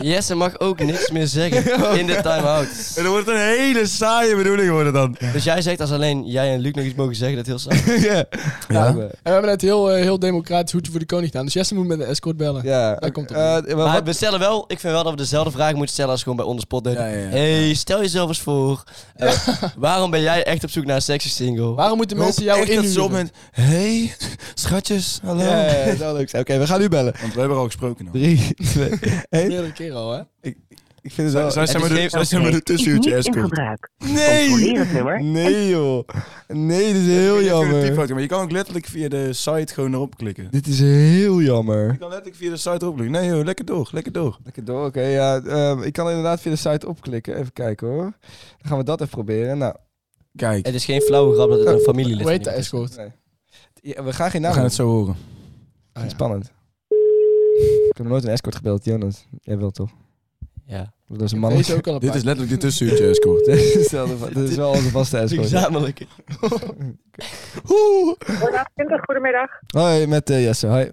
Speaker 4: Jesse mag ook niks meer zeggen in de time-out.
Speaker 5: En dan wordt het een hele saaie bedoeling worden dan.
Speaker 4: Dus jij zegt als alleen jij en Luc nog iets mogen zeggen, dat heel saai.
Speaker 2: ja.
Speaker 5: Ja.
Speaker 2: Ja.
Speaker 3: En we hebben net heel, eh, heel democratisch hoedje voor de koning gedaan. Dus Jesse moet met een escort bellen.
Speaker 2: ja.
Speaker 3: Daar komt het
Speaker 2: Eh, wat-
Speaker 4: Maar we stellen wel, ik vind wel dat we dezelfde vraag moeten stellen als gewoon bij onderspot.
Speaker 5: Ja, ja, ja.
Speaker 4: hey, stel jezelf eens voor. Eh, waarom ben jij echt op zoek naar een sexy single?
Speaker 3: Waarom moeten mensen jou
Speaker 5: echt dat ze op
Speaker 3: inhuren?
Speaker 5: moment... Hey, schatjes, hallo.
Speaker 2: Ja, ja, ja, dat zou leuk zijn. Oké, we gaan nu bellen.
Speaker 5: Want we hebben al gesproken. Nou.
Speaker 2: Drie, twee, één.
Speaker 3: Meerdere keren al, hè?
Speaker 2: Ik vind het wel...
Speaker 5: Zij zijn maar de- zij zijn maar de tussenuurtje escort.
Speaker 2: Nee! Nee, joh. Nee, dit is heel
Speaker 5: Je kunt een
Speaker 2: jammer.
Speaker 5: typfoto, Maar je kan ook letterlijk via de site gewoon erop klikken.
Speaker 2: Dit is heel jammer.
Speaker 5: Je kan letterlijk via de site erop klikken. Nee joh, lekker door, lekker door.
Speaker 2: Lekker door, oké. ja, ehm, ik kan inderdaad via de site opklikken. Even kijken hoor. Dan gaan we dat even proberen. Nou,
Speaker 5: Kijk,
Speaker 4: Het is geen flauwe grap dat het een familielid
Speaker 3: Hoe heet de
Speaker 4: van iemand is.
Speaker 3: escort?
Speaker 2: ja, we gaan geen
Speaker 5: we
Speaker 2: naam
Speaker 5: gaan het zo horen.
Speaker 3: Ah, ja.
Speaker 2: Spannend. Ik heb nog nooit een escort gebeld, Jonas. Jij wel toch?
Speaker 4: Ja.
Speaker 2: Dat is een man.
Speaker 3: Deze ook al een
Speaker 5: Dit
Speaker 3: paar.
Speaker 5: is letterlijk de tussenuurtje escort.
Speaker 2: Dit is wel de- dit is wel onze vaste escort.
Speaker 4: Gezamenlijk.
Speaker 6: Goedemiddag, goedemiddag.
Speaker 2: Hoi, met eh, Jesse. Hoi.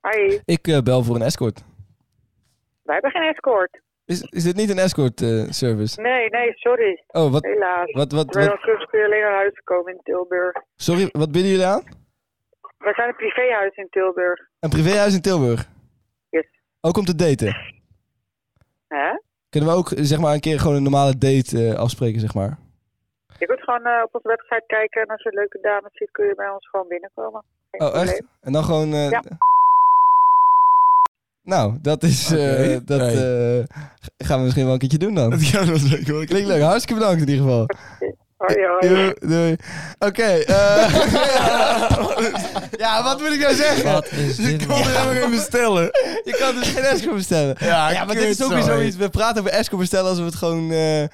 Speaker 6: Hoi.
Speaker 2: Ik eh, bel voor een escort.
Speaker 6: Wij hebben geen escort.
Speaker 2: Is, is dit niet een escort eh, service?
Speaker 6: Nee, nee, sorry.
Speaker 2: Oh, wat,
Speaker 6: Helaas.
Speaker 2: wat, wat,
Speaker 6: Terwijl
Speaker 2: wat-
Speaker 6: ons kunst kun je alleen naar huis komen in Tilburg.
Speaker 2: Sorry, wat bieden jullie aan?
Speaker 6: Wij zijn een privéhuis in Tilburg.
Speaker 2: Een privéhuis in Tilburg.
Speaker 6: Yes.
Speaker 2: Ook om te daten.
Speaker 6: Hè?
Speaker 2: Kunnen we ook eh, zeg maar een keer gewoon een normale date eh, afspreken, zeg maar?
Speaker 6: Je kunt gewoon eh, op onze website kijken en als je leuke dames ziet, kun je bij ons gewoon binnenkomen. Geen
Speaker 2: Oh, echt?
Speaker 6: probleem.
Speaker 2: En dan gewoon. eh,
Speaker 6: Ja.
Speaker 2: Nou, dat is. eh,
Speaker 5: Oké.
Speaker 2: dat eh, g- gaan we misschien wel een keertje doen dan.
Speaker 5: Ja, dat is leuk hoor.
Speaker 2: Klinkt leuk. Hartstikke bedankt in ieder geval.
Speaker 6: Hoi, hoi.
Speaker 2: Doei. doei. Oké. eh, ja, wat moet ik nou zeggen?
Speaker 4: Wat is dit?
Speaker 5: Ik kon er helemaal geen bestellen.
Speaker 2: Je kan dus geen escort bestellen.
Speaker 5: Ja,
Speaker 2: maar dit is ook weer zoiets. We praten over escort bestellen alsof het gewoon... eh,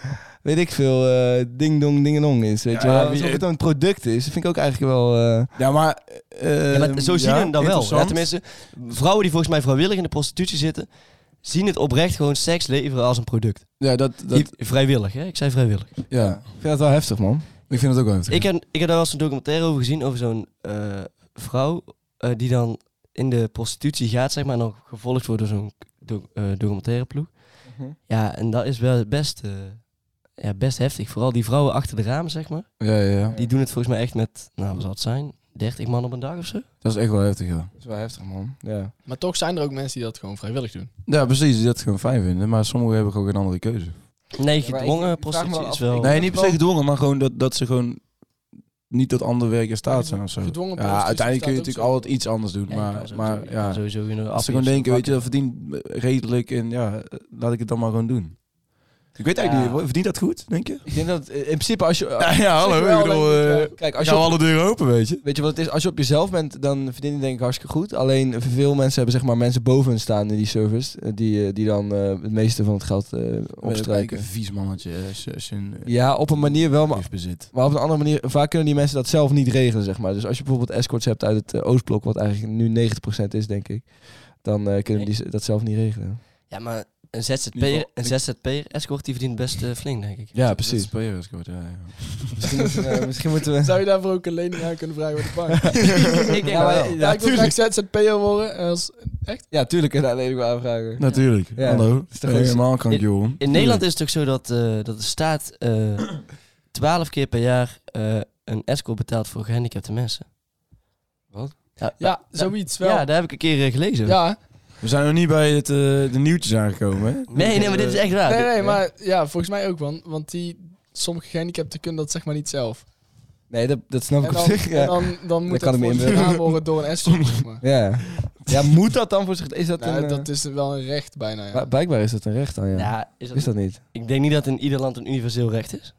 Speaker 2: weet ik veel. eh, ding dong, ding dong is. Weet je
Speaker 5: Ja,
Speaker 2: wel.
Speaker 5: wie-
Speaker 2: Alsof het een product is. Dat vind ik ook eigenlijk wel... eh,
Speaker 5: Ja, maar... eh,
Speaker 4: Ja, maar zo zien
Speaker 5: ja,
Speaker 4: we hem dan wel. Ja,
Speaker 5: interessant.
Speaker 4: tenminste, vrouwen die volgens mij vrijwillig in de prostitutie zitten, zien het oprecht gewoon seks leveren als een product.
Speaker 5: Ja, dat... dat
Speaker 4: Die- Vrijwillig, hè? Ik zei vrijwillig.
Speaker 5: ja.
Speaker 2: ik vind dat wel heftig, man.
Speaker 5: Ik vind het ook wel heftig.
Speaker 4: Ik heb, ik heb daar wel eens een documentaire over gezien, over zo'n eh, vrouw eh, die dan in de prostitutie gaat, zeg maar, en dan gevolgd wordt door zo'n doc- eh, documentaireploeg.
Speaker 2: Mhm.
Speaker 4: Ja, en dat is wel best, eh, ja, best heftig. Vooral die vrouwen achter de ramen, zeg maar,
Speaker 5: Ja, ja, ja.
Speaker 4: die doen het volgens mij echt met, nou, wat zal het zijn? 30 man op een dag of zo?
Speaker 5: Dat is echt wel heftig, ja.
Speaker 2: Dat is wel heftig, man. Ja.
Speaker 3: Maar toch zijn er ook mensen die dat gewoon vrijwillig doen.
Speaker 5: Ja, precies. Die dat gewoon fijn vinden. Maar sommigen hebben gewoon een andere keuze.
Speaker 4: Nee,
Speaker 2: maar ik-
Speaker 4: gedwongen
Speaker 2: ik vraag me
Speaker 4: prostitutie
Speaker 2: af-
Speaker 4: is wel...
Speaker 5: Nee, niet per se gedwongen, maar gewoon dat, dat ze gewoon niet tot ander werk in staat zijn of zo.
Speaker 3: Gedwongen
Speaker 5: ja,
Speaker 3: prostitutie
Speaker 5: uiteindelijk kun je
Speaker 3: staat
Speaker 5: natuurlijk
Speaker 3: ook zo.
Speaker 5: altijd iets anders doen.
Speaker 4: Ja, je kan
Speaker 5: maar
Speaker 4: zo- je
Speaker 5: maar
Speaker 4: kan
Speaker 5: ja,
Speaker 4: sowieso in
Speaker 5: als ze gewoon denken, weet je, dat verdient eh, redelijk en ja, eh, laat ik het dan maar gewoon doen. Ik weet eigenlijk niet, verdient dat goed, denk je?
Speaker 2: Ik denk dat eh, in principe als je...
Speaker 5: Ja, hallo.
Speaker 3: wel,
Speaker 5: ik bedoel,
Speaker 3: denk ik,
Speaker 5: eh,
Speaker 3: ja.
Speaker 2: Kijk,
Speaker 5: ik
Speaker 2: als je
Speaker 5: hou
Speaker 2: op-
Speaker 5: alle deuren open, weet je.
Speaker 2: Weet je wat het is? Als je op jezelf bent, dan verdien je denk ik hartstikke goed. Alleen veel mensen hebben zeg maar mensen boven hen staan in die service. eh, Die, eh, die dan eh, het meeste van het geld eh
Speaker 5: Opstrijken.
Speaker 2: opstrijken.
Speaker 5: Een vies mannetje als je- als je een eh,
Speaker 2: Ja, op een manier wel, maar,
Speaker 5: bezit.
Speaker 2: maar op een andere manier. Vaak kunnen die mensen dat zelf niet regelen, zeg maar. Dus als je bijvoorbeeld escorts hebt uit het eh, Oostblok, wat eigenlijk nu 90% is, denk ik. Dan eh, kunnen die z- dat zelf niet regelen.
Speaker 4: Ja, maar een
Speaker 5: In ieder
Speaker 4: ZZP'er,
Speaker 5: geval-
Speaker 4: een ZZP'er escort, die verdient best eh, flink, denk ik.
Speaker 2: Ja,
Speaker 5: Dat is
Speaker 2: precies.
Speaker 5: players, goed, ja, ja.
Speaker 2: Misschien, moeten we- misschien moeten we...
Speaker 3: Zou je daarvoor ook een lening aan kunnen vragen bij de bank?
Speaker 4: ik denk
Speaker 2: Ja, maar-
Speaker 4: wel.
Speaker 3: ja,
Speaker 2: ja,
Speaker 3: ik wil
Speaker 2: tuurlijk.
Speaker 3: graag ZZP'er worden. eh, Als,
Speaker 2: Ja, tuurlijk. En alleen maar aanvragen.
Speaker 5: Natuurlijk.
Speaker 2: Ja.
Speaker 5: Hallo.
Speaker 2: Is toch ook-
Speaker 5: Helemaal kan ik, joh.
Speaker 4: In Nederland is het ook zo dat, eh, dat de staat eh, twaalf keer per jaar eh, een escort betaalt voor gehandicapte mensen.
Speaker 2: Wat?
Speaker 4: Ja,
Speaker 3: Ja, zoiets wel.
Speaker 4: ja,
Speaker 3: Ja,
Speaker 4: daar heb ik een keer eh, gelezen.
Speaker 5: We zijn nog niet bij het, eh, de nieuwtjes aangekomen, hè?
Speaker 4: Nee, nee, maar dit is echt waar.
Speaker 3: Nee, nee, maar ja, volgens mij ook, want, want die, sommige gehandicapten kunnen dat zeg maar niet zelf.
Speaker 2: Nee, dat, dat snap ik
Speaker 3: En
Speaker 2: op
Speaker 3: dan,
Speaker 2: zich.
Speaker 3: en
Speaker 2: Ja.
Speaker 3: dan, dan moet
Speaker 2: kan ik me
Speaker 3: dat voor
Speaker 2: inbeelden.
Speaker 3: gedaan worden door een escort, zeg maar.
Speaker 2: Ja. ja, moet dat dan voor zich... Is dat
Speaker 3: Nou,
Speaker 2: een...
Speaker 3: dat is wel een recht bijna, ja.
Speaker 2: eh, Blijkbaar is dat een recht dan, ja.
Speaker 4: Ja, is dat-
Speaker 2: Is dat niet?
Speaker 4: Ik denk niet dat in ieder land een universeel recht is.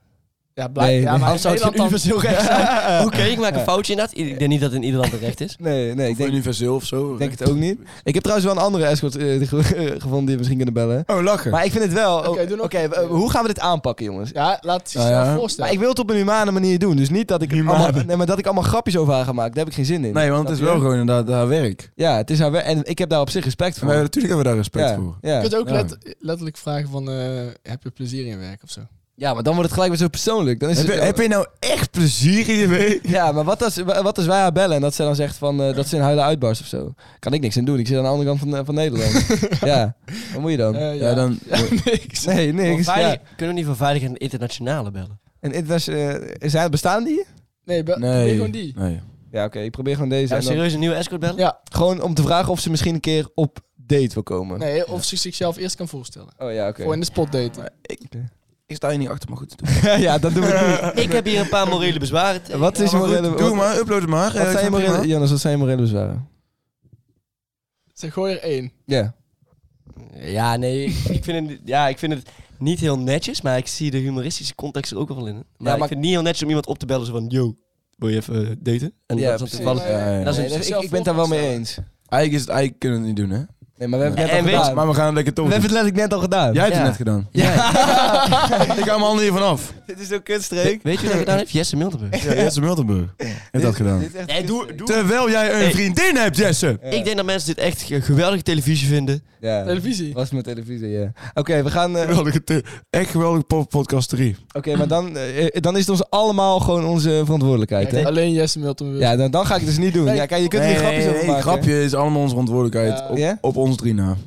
Speaker 3: Ja, blijk,
Speaker 2: Nee,
Speaker 3: ja
Speaker 2: nee.
Speaker 3: maar
Speaker 4: Of
Speaker 3: in
Speaker 4: zou het geen
Speaker 3: Nederland dan-
Speaker 4: universeel recht zijn? Oké, ik maak
Speaker 2: Ja.
Speaker 4: een foutje inderdaad. I- Ik denk niet dat in ieder land een recht is.
Speaker 2: Nee, nee, ik denk,
Speaker 5: Universeel of zo.
Speaker 2: ik denk het ook niet. Ik heb trouwens wel een andere escort eh, ge- gevonden die we misschien kunnen bellen.
Speaker 5: Oh, lachen.
Speaker 2: Maar ik vind het wel... oh,
Speaker 3: Oké,
Speaker 2: Oké,
Speaker 3: doe nog-
Speaker 2: w- eh, hoe gaan we dit aanpakken, jongens?
Speaker 3: Ja, laat het je
Speaker 5: Nou
Speaker 3: snel
Speaker 5: ja.
Speaker 3: voorstellen.
Speaker 2: Maar ik wil het op een humane manier doen. Dus niet dat ik, het
Speaker 5: Humane.
Speaker 2: allemaal, nee, maar dat ik allemaal grapjes over haar ga maken. Daar heb ik geen zin in.
Speaker 5: Nee, want het is
Speaker 2: Snap
Speaker 5: wel
Speaker 2: je?
Speaker 5: gewoon inderdaad haar werk.
Speaker 2: Ja, het is haar wer- En ik heb daar op zich respect voor.
Speaker 5: Maar natuurlijk hebben we daar respect
Speaker 2: ja,
Speaker 5: voor.
Speaker 3: je
Speaker 2: Ja.
Speaker 3: kunt ook
Speaker 5: Ja.
Speaker 3: let- letterlijk vragen van, eh, heb je plezier in je werk of zo?
Speaker 2: ja, maar dan wordt het gelijk weer zo persoonlijk. Dan is
Speaker 5: Heb je,
Speaker 2: het,
Speaker 5: heb je nou echt plezier in je werk?
Speaker 2: Ja, maar wat als, wa- wat als wij haar bellen en dat ze dan zegt van, eh, dat ze in huilen uitbarst of zo? Kan ik niks aan doen. Ik zit aan de andere kant van, eh, van Nederland. ja, wat moet je dan?
Speaker 3: Eh,
Speaker 5: Ja, dan...
Speaker 3: niks.
Speaker 2: nee, niks.
Speaker 4: Voor veilig-
Speaker 2: Ja.
Speaker 4: Kunnen we niet voor veilig en internationale bellen?
Speaker 2: En internationale, zijn, bestaan die?
Speaker 3: Nee, be- probeer
Speaker 5: Nee.
Speaker 3: gewoon die.
Speaker 5: nee.
Speaker 2: Ja, oké. ik probeer gewoon deze.
Speaker 4: Zou we
Speaker 2: en dan-
Speaker 4: serieus een nieuwe escort bellen?
Speaker 3: Ja,
Speaker 2: Gewoon om te vragen of ze misschien een keer op date wil komen.
Speaker 3: nee, of ze zichzelf eerst kan voorstellen.
Speaker 2: Oh ja, oké.
Speaker 3: Voor in de spot daten.
Speaker 5: Ik sta hier niet achter, maar goed. Doe,
Speaker 2: ja, dat doen we
Speaker 4: Ik heb hier een paar morele bezwaren.
Speaker 2: niet. Wat is
Speaker 5: maar, goed,
Speaker 2: morele...
Speaker 5: doe
Speaker 2: wat-
Speaker 5: maar, upload het maar.
Speaker 2: Wat
Speaker 5: Eh,
Speaker 2: zijn je
Speaker 5: ik vind
Speaker 2: morele...
Speaker 5: het
Speaker 2: Jannes, wat zijn je morele bezwaren?
Speaker 3: Ze gooi er één.
Speaker 2: Ja.
Speaker 4: Ja, nee, ik- ik vind, het, ja, ik vind het niet heel netjes, maar ik zie de humoristische context er ook wel in. Maar,
Speaker 2: maar-
Speaker 4: ik vind het niet heel netjes om iemand op te bellen zo van, yo, wil je even eh, daten? En dat
Speaker 2: Ja,
Speaker 4: is dan
Speaker 2: precies.
Speaker 4: toevallig...
Speaker 5: Ja, ja, ja.
Speaker 4: Dat is
Speaker 2: Nee,
Speaker 4: een-
Speaker 2: dat- ik,
Speaker 3: zichzelf
Speaker 2: ik ben het daar wel mee
Speaker 3: voorstellen.
Speaker 2: eens.
Speaker 5: Eigenlijk, is het, eigenlijk kunnen we het niet doen, hè?
Speaker 2: Nee, maar we hebben het
Speaker 4: En
Speaker 2: net al
Speaker 4: weet-
Speaker 2: gedaan.
Speaker 5: Maar we gaan het lekker toch
Speaker 2: We hebben het letterlijk net al gedaan.
Speaker 5: Jij hebt
Speaker 4: Ja.
Speaker 5: het net gedaan.
Speaker 4: Ja.
Speaker 5: ik hou mijn handen hiervan af.
Speaker 2: Dit is zo'n kutstreek.
Speaker 4: Weet je wat hij gedaan heeft? Jesse Miltenburg.
Speaker 5: Ja, Jesse Miltenburg heeft dat gedaan.
Speaker 4: Nee, doe, doe.
Speaker 5: Terwijl jij een
Speaker 4: Hey.
Speaker 5: vriendin hebt, Jesse.
Speaker 4: Ik denk dat mensen dit echt ge- geweldige televisie vinden.
Speaker 2: Ja.
Speaker 3: Televisie.
Speaker 2: Was met televisie, ja. Oké, we gaan... eh,
Speaker 5: Geweldige te- echt geweldige po- podcast 3.
Speaker 2: Oké, maar dan, eh, eh, dan is het ons allemaal gewoon onze verantwoordelijkheid, hè?
Speaker 3: Alleen Jesse Milton.
Speaker 2: Ja, dan, dan ga ik het dus niet doen.
Speaker 3: Nee.
Speaker 2: Ja, kijk, je kunt er niet grapjes over maken.
Speaker 5: grapje is allemaal onze verantwoordelijkheid.
Speaker 3: Ja.
Speaker 5: Op,
Speaker 2: Ja?
Speaker 5: op ons drie na.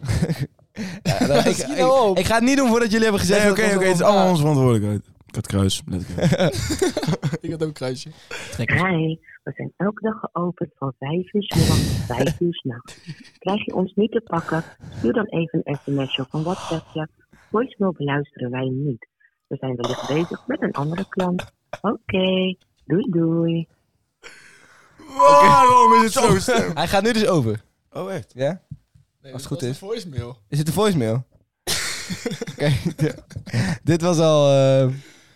Speaker 2: Ja, dan- ik,
Speaker 3: Schiet
Speaker 2: ik-
Speaker 3: nou op.
Speaker 2: ik ga het niet doen voordat jullie hebben gezegd...
Speaker 5: Nee, oké,
Speaker 2: dat
Speaker 5: oké,
Speaker 2: onze-
Speaker 5: het is allemaal onze verantwoordelijkheid. Ik had kruis. Let ik even.
Speaker 3: Ik had ook een kruisje.
Speaker 7: Hi, we zijn elke dag geopend van 5 uur 's middags tot 5 uur 's nachts. Krijg je ons niet te pakken? Stuur dan even een sms'je of een whatsappje. Voicemail beluisteren wij niet. We zijn wellicht bezig met een andere klant. Oké, doei doei.
Speaker 5: Waarom is het zo stem?
Speaker 2: Hij gaat nu dus over.
Speaker 5: Oh, echt?
Speaker 2: Ja?
Speaker 3: Nee,
Speaker 2: Als het goed
Speaker 3: dat was
Speaker 2: is.
Speaker 3: de voicemail.
Speaker 2: Is het een voicemail? Oké, ja. dit was al... eh,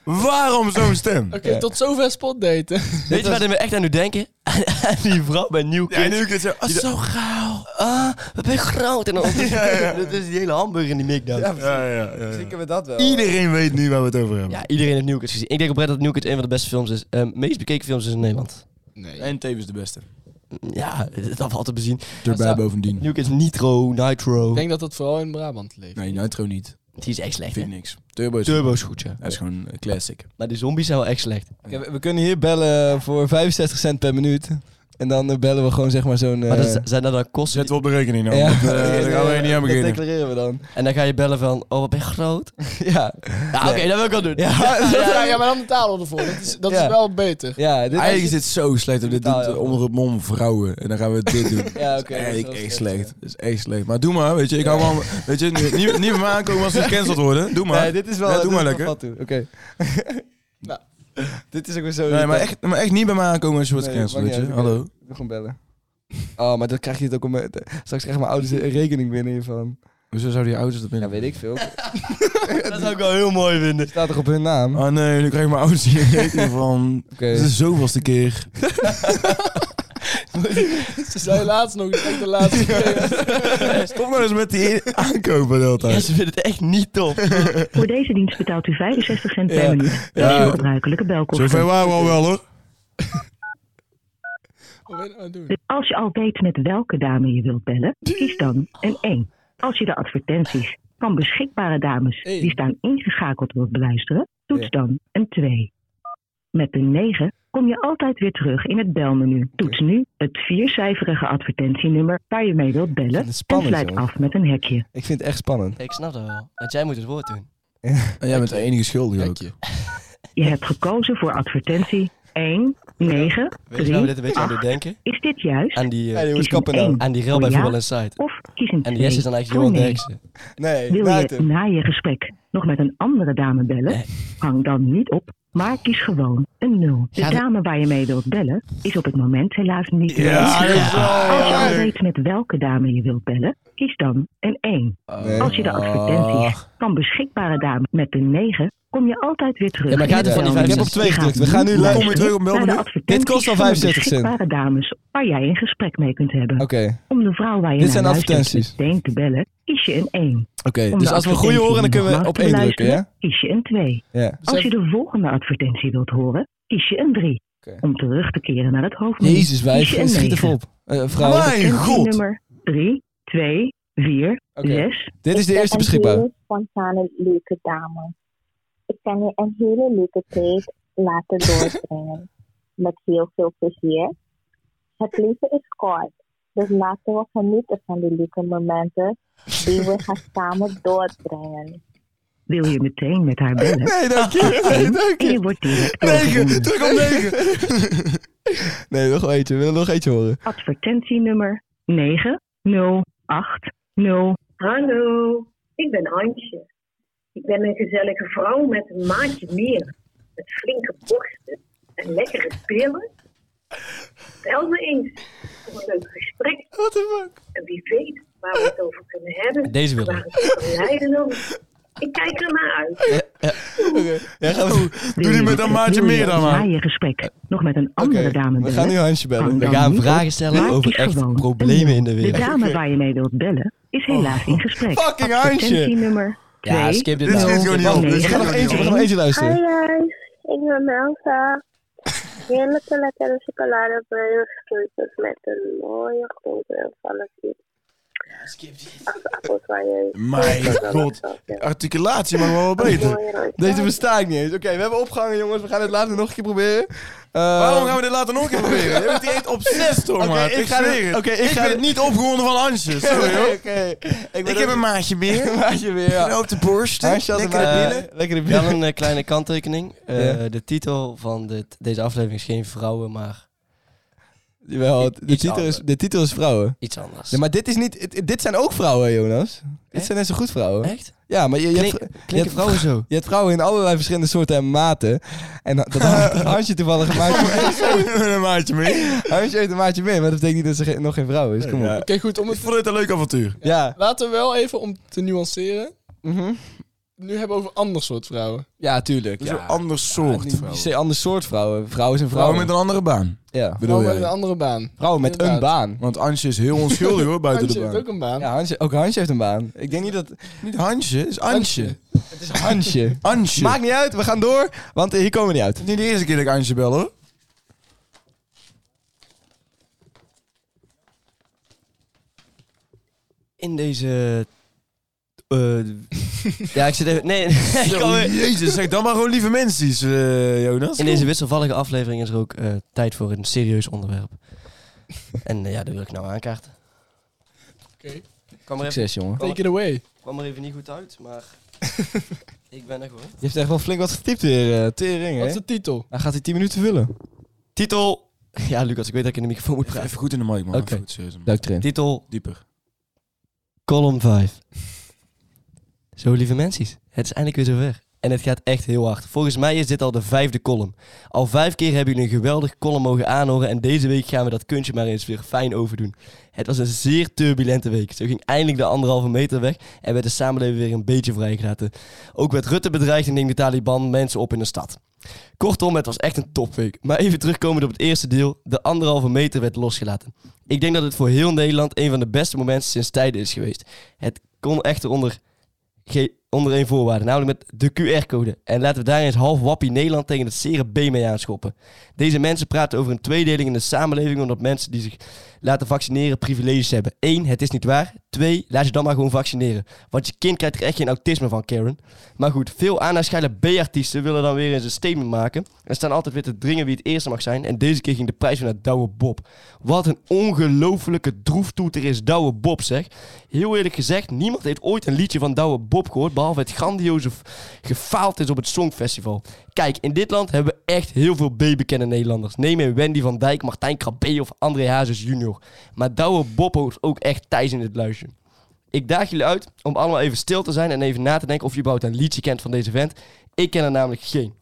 Speaker 5: Waarom zo'n stem?
Speaker 3: Oké,
Speaker 2: Ja.
Speaker 3: tot zover spot daten.
Speaker 4: Weet je
Speaker 2: was-
Speaker 4: waar dit me echt aan doet denken? Aan aan die vrouw bij Nieuw
Speaker 5: Ja, nu ik het zo... Ah,
Speaker 4: zo gauw. Ah, wat ben je groot. En dan
Speaker 5: Ja, ja.
Speaker 4: Dat is die hele hamburger in die mikdown. Ja.
Speaker 2: Ja,
Speaker 5: Ja, ja, ja, ja.
Speaker 2: Zieken we dat wel.
Speaker 5: Iedereen weet nu waar we het over hebben.
Speaker 4: iedereen heeft Nieuw Kids gezien. Ik denk oprecht dat Nieuw Kids een van de beste films is. eh, meest bekeken films is in Nederland. Mm,
Speaker 3: Nee.
Speaker 5: En tevens de beste.
Speaker 4: Ja, dat valt te bezien.
Speaker 5: Erbij
Speaker 3: zou-
Speaker 5: bovendien.
Speaker 4: Nieuw Kids Nitro, Nitro.
Speaker 3: Ik denk dat dat vooral in Brabant leeft.
Speaker 5: Nee, Nitro niet.
Speaker 4: Die is echt slecht,
Speaker 5: Vind
Speaker 4: hè?
Speaker 5: ik niks. Turbo is...
Speaker 4: Turbo is goed, ja.
Speaker 5: Hij is gewoon een classic.
Speaker 4: Maar de zombies zijn wel echt slecht.
Speaker 2: Oké, we, we kunnen hier bellen voor 65 cent per minuut. En dan eh, bellen we gewoon zeg maar zo'n... eh,
Speaker 4: Maar dat, zijn dat dan kosten?
Speaker 5: Zet we op de rekening dan.
Speaker 2: ja.
Speaker 5: want, eh, daar gaan we niet aan
Speaker 2: Dat
Speaker 5: beginnen.
Speaker 2: declareren we dan.
Speaker 4: En dan ga je bellen van, oh, wat ben je groot.
Speaker 2: Ja.
Speaker 4: Ja, oké, dat wil ik wel doen.
Speaker 2: Ja.
Speaker 3: Ja, ja, maar dan betalen we ervoor. Dat is, dat
Speaker 2: Ja.
Speaker 3: is wel beter.
Speaker 2: Ja, dit
Speaker 5: Eigenlijk is dit zo slecht. want Dit
Speaker 2: Betaal
Speaker 5: doet
Speaker 2: je ook
Speaker 5: onder het mom vrouwen. En dan gaan we dit doen.
Speaker 2: Ja,
Speaker 5: Dat
Speaker 2: oké,
Speaker 5: is
Speaker 2: dat is
Speaker 5: Eigenlijk
Speaker 2: wel slecht,
Speaker 5: echt slecht.
Speaker 2: ja.
Speaker 5: Dat is echt slecht. Maar doe maar, weet je. Ik hou wel... Weet je, niet, niet- niet bij mij aankomen als ze gecanceld worden. Doe maar.
Speaker 2: Nee, dit is wel...
Speaker 5: Ja, doe
Speaker 2: dit
Speaker 5: maar
Speaker 2: is wel
Speaker 5: lekker.
Speaker 2: vat toe. Oké.
Speaker 3: Nou.
Speaker 2: Dit is ook weer zo...
Speaker 5: Nee, maar
Speaker 2: irritant.
Speaker 5: echt, maar echt niet bij mij aankomen als je wordt
Speaker 2: Nee,
Speaker 5: gecanceld,
Speaker 2: maakt
Speaker 5: weet
Speaker 2: niet
Speaker 5: je.
Speaker 2: uit, oké.
Speaker 5: Hallo.
Speaker 2: Doe Gewoon bellen. Oh, maar dan krijg je het ook om... eh, Straks krijgen mijn ouders een rekening binnen hiervan.
Speaker 5: Hoezo zouden die ouders dat
Speaker 2: Ja,
Speaker 5: binnen?
Speaker 2: weet ik veel. Het
Speaker 4: Dat zou ik wel heel mooi vinden.
Speaker 2: staat toch op hun naam? Oké.
Speaker 5: Ah nee, nu krijg ik mijn ouders hier een rekening van. Dit is de zoveelste keer.
Speaker 3: Ze zei laatst nog, echt de laatste keer.
Speaker 5: Stop nou eens met die aankopen de hele
Speaker 4: Ja,
Speaker 5: tijd.
Speaker 4: ze vinden het echt niet tof.
Speaker 7: Voor deze dienst betaalt u 65 cent per
Speaker 5: Ja.
Speaker 7: minuut. Dat
Speaker 5: Ja.
Speaker 7: is uw gebruikelijke
Speaker 5: Zover
Speaker 7: belkosten.
Speaker 5: waren we al wel hoor.
Speaker 3: Wat ben je nou aan het doen?
Speaker 7: Als je al weet met welke dame je wilt bellen, kies dan een 1. Als je de advertenties van beschikbare dames die staan ingeschakeld wilt beluisteren, toets dan een 2. Met de 9 kom je altijd weer terug in het belmenu. Toets nu het viercijferige advertentienummer waar je mee wilt bellen
Speaker 2: vind het
Speaker 7: en
Speaker 2: spannend,
Speaker 7: sluit
Speaker 2: joh.
Speaker 7: af met een hekje.
Speaker 2: Ik vind het echt spannend.
Speaker 4: Ik snap dat wel. Want jij moet het woord doen.
Speaker 5: En jij bent de enige schuldige ook.
Speaker 3: Dank je.
Speaker 7: Je hebt gekozen voor advertentie 1 9,
Speaker 4: Weet je nou. waar we
Speaker 7: 3,
Speaker 4: dit een beetje aan doen denken?
Speaker 7: Is dit juist?
Speaker 4: Aan die, eh,
Speaker 2: Hey, jongens,
Speaker 7: Kies een
Speaker 2: kappen nou.
Speaker 7: één.
Speaker 4: aan die rel bij
Speaker 7: Ah. Oh, ja?
Speaker 4: Voetbal Inside.
Speaker 7: Of kies een
Speaker 4: En
Speaker 7: 2.
Speaker 4: de yes is dan eigenlijk Johan Derksen.
Speaker 2: Nee,
Speaker 7: Wil
Speaker 2: laat
Speaker 7: je
Speaker 2: hem.
Speaker 7: na je gesprek nog met een andere dame bellen?
Speaker 4: Nee.
Speaker 7: Hang dan niet op, maar kies gewoon een 0. De
Speaker 4: Ja, dat-
Speaker 7: dame waar je mee wilt bellen is op het moment helaas niet
Speaker 5: Ja, dat is wel
Speaker 7: Als je al
Speaker 5: leuk.
Speaker 7: weet met welke dame je wilt bellen, kies dan een 1.
Speaker 2: Nee.
Speaker 7: Oh. Als je de advertenties van beschikbare dame met een 9, kom je altijd weer terug.
Speaker 4: Ja, maar
Speaker 7: in
Speaker 4: gaat
Speaker 7: het
Speaker 4: er van die
Speaker 7: programma.
Speaker 4: vijf- Ik heb
Speaker 2: op twee
Speaker 7: Je gaat
Speaker 2: gedrukt. We gaan nu
Speaker 7: niet
Speaker 2: live.
Speaker 7: luisteren
Speaker 5: Kom je terug op
Speaker 7: naar de
Speaker 5: Melmenu?
Speaker 7: advertenties
Speaker 2: Dit kost
Speaker 7: van
Speaker 2: al
Speaker 7: de
Speaker 2: 75 cent.
Speaker 7: beschikbare dames waar jij in gesprek mee kunt hebben.
Speaker 2: Oké,
Speaker 7: Om de vrouw waar je
Speaker 2: Dit
Speaker 7: naar
Speaker 2: zijn
Speaker 7: luistert
Speaker 2: advertenties.
Speaker 7: meteen te bellen, kies je een 1.
Speaker 2: oké.
Speaker 7: Om
Speaker 2: Dus
Speaker 7: de
Speaker 2: als we een goede horen, dan kunnen we op
Speaker 7: advertentie
Speaker 2: één
Speaker 7: nog
Speaker 2: drukken,
Speaker 7: na
Speaker 2: ja?
Speaker 7: te luisteren, Kies je een 2.
Speaker 2: Ja.
Speaker 7: Als je de volgende advertentie wilt horen, kies je een 3.
Speaker 2: Oké.
Speaker 7: Om terug te keren naar het hoofdmenu.
Speaker 2: Jezus,
Speaker 7: Kies je
Speaker 2: wij
Speaker 7: een
Speaker 2: schiet
Speaker 7: negen.
Speaker 2: even op. Eh, vrouw,
Speaker 5: Mijn god.
Speaker 7: nummer 3, 2, 4,
Speaker 2: Oké.
Speaker 7: 6.
Speaker 2: dit is de eerste
Speaker 5: Eh,
Speaker 2: beschikbaar. Eh,
Speaker 8: Een hele spontane leuke dame. Ik kan je een hele leuke tijd laten doorbrengen. Met heel veel plezier. Het leven is kort. Dus laten we genieten van die leuke momenten die we gaan samen doorbrengen.
Speaker 7: Wil je meteen met haar bellen?
Speaker 2: Nee, dank je. Nee, dank
Speaker 7: En je
Speaker 2: je.
Speaker 7: wordt direct
Speaker 2: Negen,
Speaker 7: doorverbonden.
Speaker 2: terug op negen. Nee, nog eentje. We willen nog eentje horen.
Speaker 7: Advertentie nummer 9080.
Speaker 9: Hallo, ik ben Antje. Ik ben een gezellige vrouw met een maatje meer. Met flinke borsten en lekkere billen. Bel me eens voor een leuk gesprek.
Speaker 2: What the fuck?
Speaker 9: En wie weet waar we het over kunnen hebben.
Speaker 4: Deze wilde
Speaker 9: Waar het over kan leiden dan. Ik kijk er naar uit.
Speaker 2: Ja, gaan we...
Speaker 7: Doe
Speaker 5: die met een maatje meer dan maar.
Speaker 7: Na je gesprek nog met een
Speaker 2: Oké,
Speaker 7: andere dame
Speaker 2: we gaan nu
Speaker 7: bellen?
Speaker 2: Hansje bellen.
Speaker 7: Hang
Speaker 4: We
Speaker 7: dan
Speaker 4: gaan
Speaker 7: niet
Speaker 4: vragen
Speaker 7: op,
Speaker 4: stellen
Speaker 7: maar
Speaker 4: over
Speaker 7: kies
Speaker 4: echt
Speaker 7: gewoon een
Speaker 4: problemen in de
Speaker 7: nul. De
Speaker 4: wereld.
Speaker 7: dame waar je mee wilt bellen is helaas in gesprek.
Speaker 2: Fucking Hansje.
Speaker 7: Advertentie nummer 2.
Speaker 4: Ja, skip dit
Speaker 5: Dit
Speaker 4: nou.
Speaker 5: schiet gewoon niet op. Dit
Speaker 2: We
Speaker 5: schiet
Speaker 2: gaan nog
Speaker 5: gewoon niet
Speaker 2: eentje, we gaan
Speaker 5: op.
Speaker 2: nog eentje luisteren.
Speaker 8: guys, ik ben Melsa. Heerlijke lekkere chocoladebreien gekregen met een mooie grote van het Ja, skip dit.
Speaker 5: Mijn god. Articulatie mag wel wat beter.
Speaker 2: Deze versta ik niet eens. Oké, we hebben opgehangen, jongens. We gaan het later nog een keer proberen. Eh,
Speaker 5: Waarom gaan we dit later nog een keer proberen? Je bent hier echt obsessed door,
Speaker 2: Oké,
Speaker 5: maat.
Speaker 2: ik
Speaker 5: Ik
Speaker 2: ga dit-
Speaker 5: zweer het.
Speaker 2: oké, ik
Speaker 5: ik
Speaker 2: ga
Speaker 5: ben
Speaker 2: dit-
Speaker 5: niet opgewonden van Antje. Sorry, hoor.
Speaker 2: Oké, ik, ben
Speaker 5: Ik heb
Speaker 2: ook-
Speaker 5: een maatje meer.
Speaker 2: een maatje weer. Ja.
Speaker 5: op de borst.
Speaker 2: Hansje had
Speaker 5: Lekker
Speaker 2: een
Speaker 4: eh,
Speaker 2: maatje.
Speaker 4: billen.
Speaker 2: Lekkere
Speaker 4: Wel
Speaker 2: billen.
Speaker 4: een eh, kleine kanttekening. Eh,
Speaker 2: Ja.
Speaker 4: De titel van dit, deze aflevering is geen vrouwen, maar
Speaker 2: Jawel, de
Speaker 4: Iets
Speaker 2: titel, is,
Speaker 4: anders.
Speaker 2: de titel is vrouwen.
Speaker 4: iets anders.
Speaker 2: Nee, maar dit is niet... het- Dit zijn ook vrouwen, Jonas. Dit
Speaker 4: Echt?
Speaker 2: zijn net zo goed vrouwen.
Speaker 4: Oh, Echt?
Speaker 2: Ja, maar je, je, hebt,
Speaker 4: Klink,
Speaker 2: vr- je,
Speaker 4: klinken
Speaker 2: hebt,
Speaker 4: vrouwen zo?
Speaker 2: je hebt vrouwen in allerlei verschillende soorten en maten. En dat had Hansje toevallig gemaakt.
Speaker 5: een maatje meer.
Speaker 2: Hansje heeft een maatje meer, maar dat betekent niet dat ze ge- nog geen vrouw is. Kom op. Ja.
Speaker 3: Oké, goed. Om
Speaker 5: Ik
Speaker 3: het,
Speaker 5: vond dit een leuk avontuur.
Speaker 2: Ja.
Speaker 3: laten we wel even, om te nuanceren,
Speaker 2: Mhm.
Speaker 3: nu hebben we over ander soort vrouwen.
Speaker 2: Ja, tuurlijk.
Speaker 5: Dus
Speaker 2: ja.
Speaker 5: een ander soort
Speaker 2: Niet per
Speaker 5: vrouwen.
Speaker 2: se ander soort vrouwen. Vrouwen zijn vrouwen.
Speaker 5: Vrouwen met een andere baan,
Speaker 2: ja.
Speaker 5: bedoel
Speaker 3: Vrouwen met een
Speaker 5: jij?
Speaker 3: andere baan.
Speaker 2: vrouwen met een
Speaker 3: Inderdaad.
Speaker 2: baan.
Speaker 5: Want Antje is heel onschuldig hoor, buiten
Speaker 3: Antje
Speaker 5: de
Speaker 3: heeft
Speaker 5: baan.
Speaker 3: ook een baan.
Speaker 2: Ja, Hansje, ook Hansje heeft een baan. Ik denk niet dat...
Speaker 5: Niet Hansje, het is Antje.
Speaker 2: Het is Hansje.
Speaker 5: Antje.
Speaker 2: Maakt niet uit, we gaan door, want hier komen we niet uit.
Speaker 5: Het is niet de eerste keer dat ik Antje bel hoor.
Speaker 4: In deze... eh, ja, ik zit even... Nee, ik kan
Speaker 5: Zo,
Speaker 4: weer-
Speaker 5: jezus, zeg dan maar gewoon lieve mensen, eh, Jonas.
Speaker 4: In deze wisselvallige aflevering is er ook eh, tijd voor een serieus onderwerp. En eh, ja, dat wil ik nou aankaarten.
Speaker 3: Oké.
Speaker 4: Kwam er, even,
Speaker 2: Succes, jongen.
Speaker 3: Take it away.
Speaker 4: kwam er even niet goed uit, maar ik ben er gewoon.
Speaker 2: Je hebt echt wel flink wat getypt weer, eh tering,
Speaker 3: Wat is
Speaker 2: hè?
Speaker 3: de titel?
Speaker 2: Dan gaat hij 10 minuten vullen.
Speaker 4: Titel. Ja, Lucas, ik weet dat ik in de microfoon moet
Speaker 5: Even-
Speaker 4: praten.
Speaker 5: Even goed in de mic, man.
Speaker 4: Oké.
Speaker 5: Even goed, serieus, man.
Speaker 2: Duik erin.
Speaker 4: Titel,
Speaker 5: Dieper.
Speaker 4: column 5. Zo, lieve mensen, het is eindelijk weer zover. En het gaat echt heel hard. Volgens mij is dit al de vijfde column. Al vijf keer hebben jullie een geweldige column mogen aanhoren. En deze week gaan we dat kunstje maar eens weer fijn overdoen. Het was een zeer turbulente week. Zo ging eindelijk de anderhalve meter weg. En werd de samenleving weer een beetje vrijgelaten. Ook werd Rutte bedreigd en neemt de Taliban mensen op in de stad. Kortom, het was echt een topweek. Maar even terugkomend op het eerste deel. De anderhalve meter werd losgelaten. Ik denk dat het voor heel Nederland een van de beste momenten sinds tijden is geweest. Het kon echter onder, ge- onder één voorwaarde, namelijk met de QR-code. En laten we daar eens half wappie Nederland tegen het zere B mee aanschoppen. Deze mensen praten over een tweedeling in de samenleving omdat mensen die zich laten vaccineren privileges hebben. Eén, het is niet waar. Twee, laat je dan maar gewoon vaccineren. Want je kind krijgt er echt geen autisme van, Karen. Maar goed, veel aanhaarschijnlijk B-artiesten willen dan weer eens een statement maken. En staan altijd weer te dringen wie het eerste mag zijn. En deze keer ging de prijs weer naar Douwe Bob. Wat een ongelofelijke droeftoeter is Douwe Bob, zeg. Heel eerlijk gezegd, niemand heeft ooit een liedje van Douwe Bob gehoord. behalve het grandioze f- gefaald is op het Songfestival. Kijk, in dit land hebben we echt heel veel baybekende Nederlanders. Neem een Wendy van Dijk, Martijn Krabbe of André Hazes junior. Maar Douwe Bob hoort ook echt thuis in dit luisje. Ik daag jullie uit om allemaal even stil te zijn en even na te denken of je überhaupt een liedje kent van deze vent. Ik ken er namelijk geen.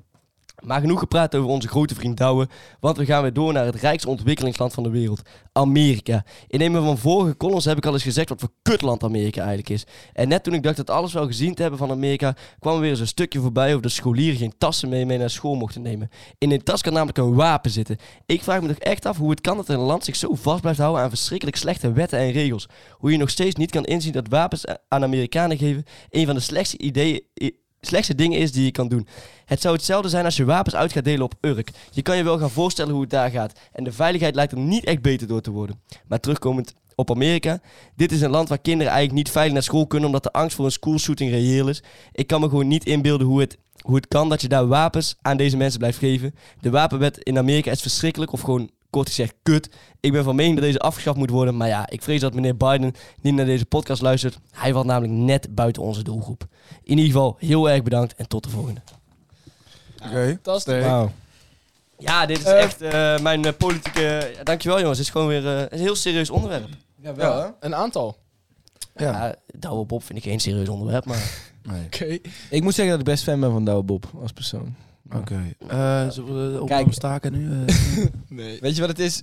Speaker 4: Maar genoeg gepraat over onze grote vriend Douwe, want we gaan weer door naar het rijkste ontwikkelingsland van de wereld, Amerika. In een van vorige columns heb ik al eens gezegd wat voor kutland Amerika eigenlijk is. En net toen ik dacht dat alles wel gezien te hebben van Amerika, kwam er weer eens een stukje voorbij over dat scholieren geen tassen mee, mee naar school mochten nemen. In een tas kan namelijk een wapen zitten. Ik vraag me toch echt af hoe het kan dat een land zich zo vast blijft houden aan verschrikkelijk slechte wetten en regels. Hoe je nog steeds niet kan inzien dat wapens a- aan Amerikanen geven een van de slechtste ideeën... i- slechtste dingen is die je kan doen. Het zou hetzelfde zijn als je wapens uit gaat delen op Urk. Je kan je wel gaan voorstellen hoe het daar gaat. En de veiligheid lijkt er niet echt beter door te worden. Maar terugkomend op Amerika. Dit is een land waar kinderen eigenlijk niet veilig naar school kunnen... omdat de angst voor een schoolshooting reëel is. Ik kan me gewoon niet inbeelden hoe het, hoe het kan dat je daar wapens aan deze mensen blijft geven. De wapenwet in Amerika is verschrikkelijk of gewoon... Kort gezegd, kut. Ik ben van mening dat deze afgeschaft moet worden. Maar ja, ik vrees dat meneer Biden niet naar deze podcast luistert. Hij valt namelijk net buiten onze doelgroep. In ieder geval, heel erg bedankt en tot de volgende.
Speaker 5: Oké.
Speaker 3: Fantastisch.
Speaker 2: Wauw.
Speaker 4: Ja, dit is
Speaker 3: Eh,
Speaker 4: echt eh, mijn eh, politieke... ja, dankjewel jongens, dit is gewoon weer eh, een heel serieus onderwerp.
Speaker 3: Ja, wel, hè? Een aantal.
Speaker 4: Ja. Douwe Bob vind ik geen serieus onderwerp, maar...
Speaker 5: Nee.
Speaker 3: Oké.
Speaker 2: Ik moet zeggen dat ik best fan ben van Douwe Bob als persoon.
Speaker 5: Oké. Eh, zullen we de
Speaker 2: Kijk.
Speaker 5: opname staken nu? eh?
Speaker 3: Nee.
Speaker 2: Weet je wat het is?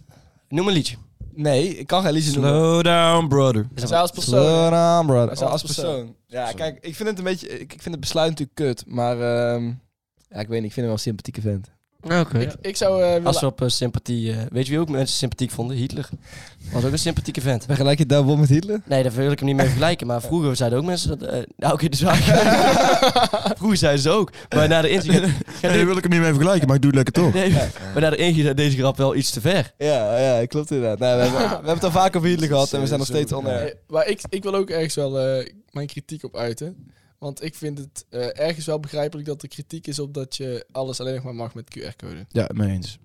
Speaker 4: Noem een liedje.
Speaker 2: Nee, ik kan geen liedjes noemen.
Speaker 5: down, brother.
Speaker 4: Is dat
Speaker 3: Zij als persoon.
Speaker 2: Slow down, brother.
Speaker 3: Als
Speaker 2: als
Speaker 3: persoon.
Speaker 2: persoon. Ja,
Speaker 5: Sorry.
Speaker 2: kijk, ik vind het een beetje... Ik, ik vind het besluit natuurlijk kut, maar... ehm, ja, ik weet niet, ik vind hem wel een sympathieke vent.
Speaker 4: Oké.
Speaker 3: Ik, ik zou eh, willen...
Speaker 4: Als we op eh, sympathie... eh, weet je wie ook mensen sympathiek vonden? Hitler. Was ook een sympathieke vent.
Speaker 2: Vergelijk je Douwe Bob met Hitler?
Speaker 4: Nee, daar wil ik hem niet mee vergelijken. Maar vroeger zeiden ook mensen dat... eh, nou, oké, dus waar- Vroeger zeiden ze ook. Maar na de inzicht...
Speaker 5: Ja, nee, wil ik hem niet mee vergelijken, maar ik doe het lekker toch.
Speaker 4: Nee, maar na de inzicht gaat deze grap wel iets te ver.
Speaker 2: Ja, ja, klopt inderdaad. Nee, we, hebben, we hebben het al vaak over Hitler gehad en we zijn nog steeds on air.
Speaker 3: Eh, maar ik, ik wil ook ergens wel eh, mijn kritiek op uiten. Want ik vind het eh, ergens wel begrijpelijk dat er kritiek is op dat je alles alleen nog maar mag met QR-code.
Speaker 5: Ja, mee eens.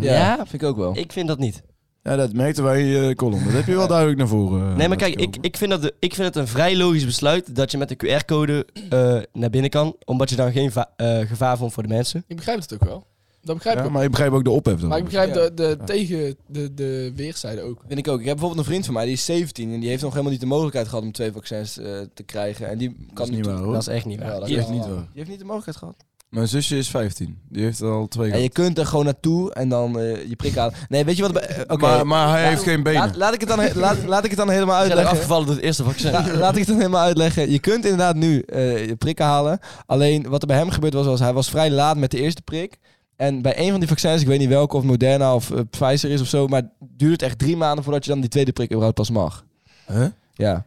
Speaker 2: Ja,
Speaker 4: Ja?
Speaker 2: vind ik ook wel.
Speaker 4: Ik vind dat niet.
Speaker 5: Ja, dat merkten wij, eh column. Dat heb je wel duidelijk naar voren. eh,
Speaker 4: Nee, maar
Speaker 5: laten
Speaker 4: kijk, ik,
Speaker 5: komen.
Speaker 4: ik, vind dat de, ik vind het een vrij logisch besluit dat je met de QR-code eh, naar binnen kan. Omdat je dan geen va- eh, gevaar vond voor de mensen.
Speaker 3: Ik begrijp het ook wel. Dat begrijp ik
Speaker 5: Ja,
Speaker 3: ook.
Speaker 5: maar ik begrijp ook de ophef dan.
Speaker 3: Maar ik
Speaker 2: Ja.
Speaker 3: begrijp de, de tegen de, de weerszijde ook.
Speaker 2: Vind ik ook. Ik heb bijvoorbeeld een vriend van mij, die is 17 en die heeft nog helemaal niet de mogelijkheid gehad om twee vaccins eh, te krijgen. En die kan
Speaker 5: Dat is niet
Speaker 2: toen-
Speaker 5: waar, hoor.
Speaker 4: Dat is echt niet waar.
Speaker 2: Ja, dat
Speaker 5: is
Speaker 4: Je-
Speaker 5: echt niet waar.
Speaker 2: Die heeft niet de mogelijkheid gehad.
Speaker 5: Mijn zusje is 15. Die heeft er al twee
Speaker 2: En je
Speaker 5: gehad.
Speaker 2: kunt er gewoon naartoe en dan eh, je prik aan. Nee, weet je wat... bij- eh, Oké,
Speaker 5: maar, maar hij heeft geen benen.
Speaker 2: laat, laat, ik het dan, he- laat, laat ik het dan helemaal
Speaker 4: Ik ben
Speaker 2: uitleggen.
Speaker 4: afgevallen door het eerste vaccin.
Speaker 2: La- laat ik het dan helemaal uitleggen. Je kunt inderdaad nu eh, je prikken halen. Alleen wat er bij hem gebeurd was, was hij was vrij laat met de eerste prik. En bij een van die vaccins, ik weet niet welke, of Moderna of eh, Pfizer is of zo, maar duurt het echt drie maanden voordat je dan die tweede prik überhaupt pas mag.
Speaker 5: Huh?
Speaker 2: Ja.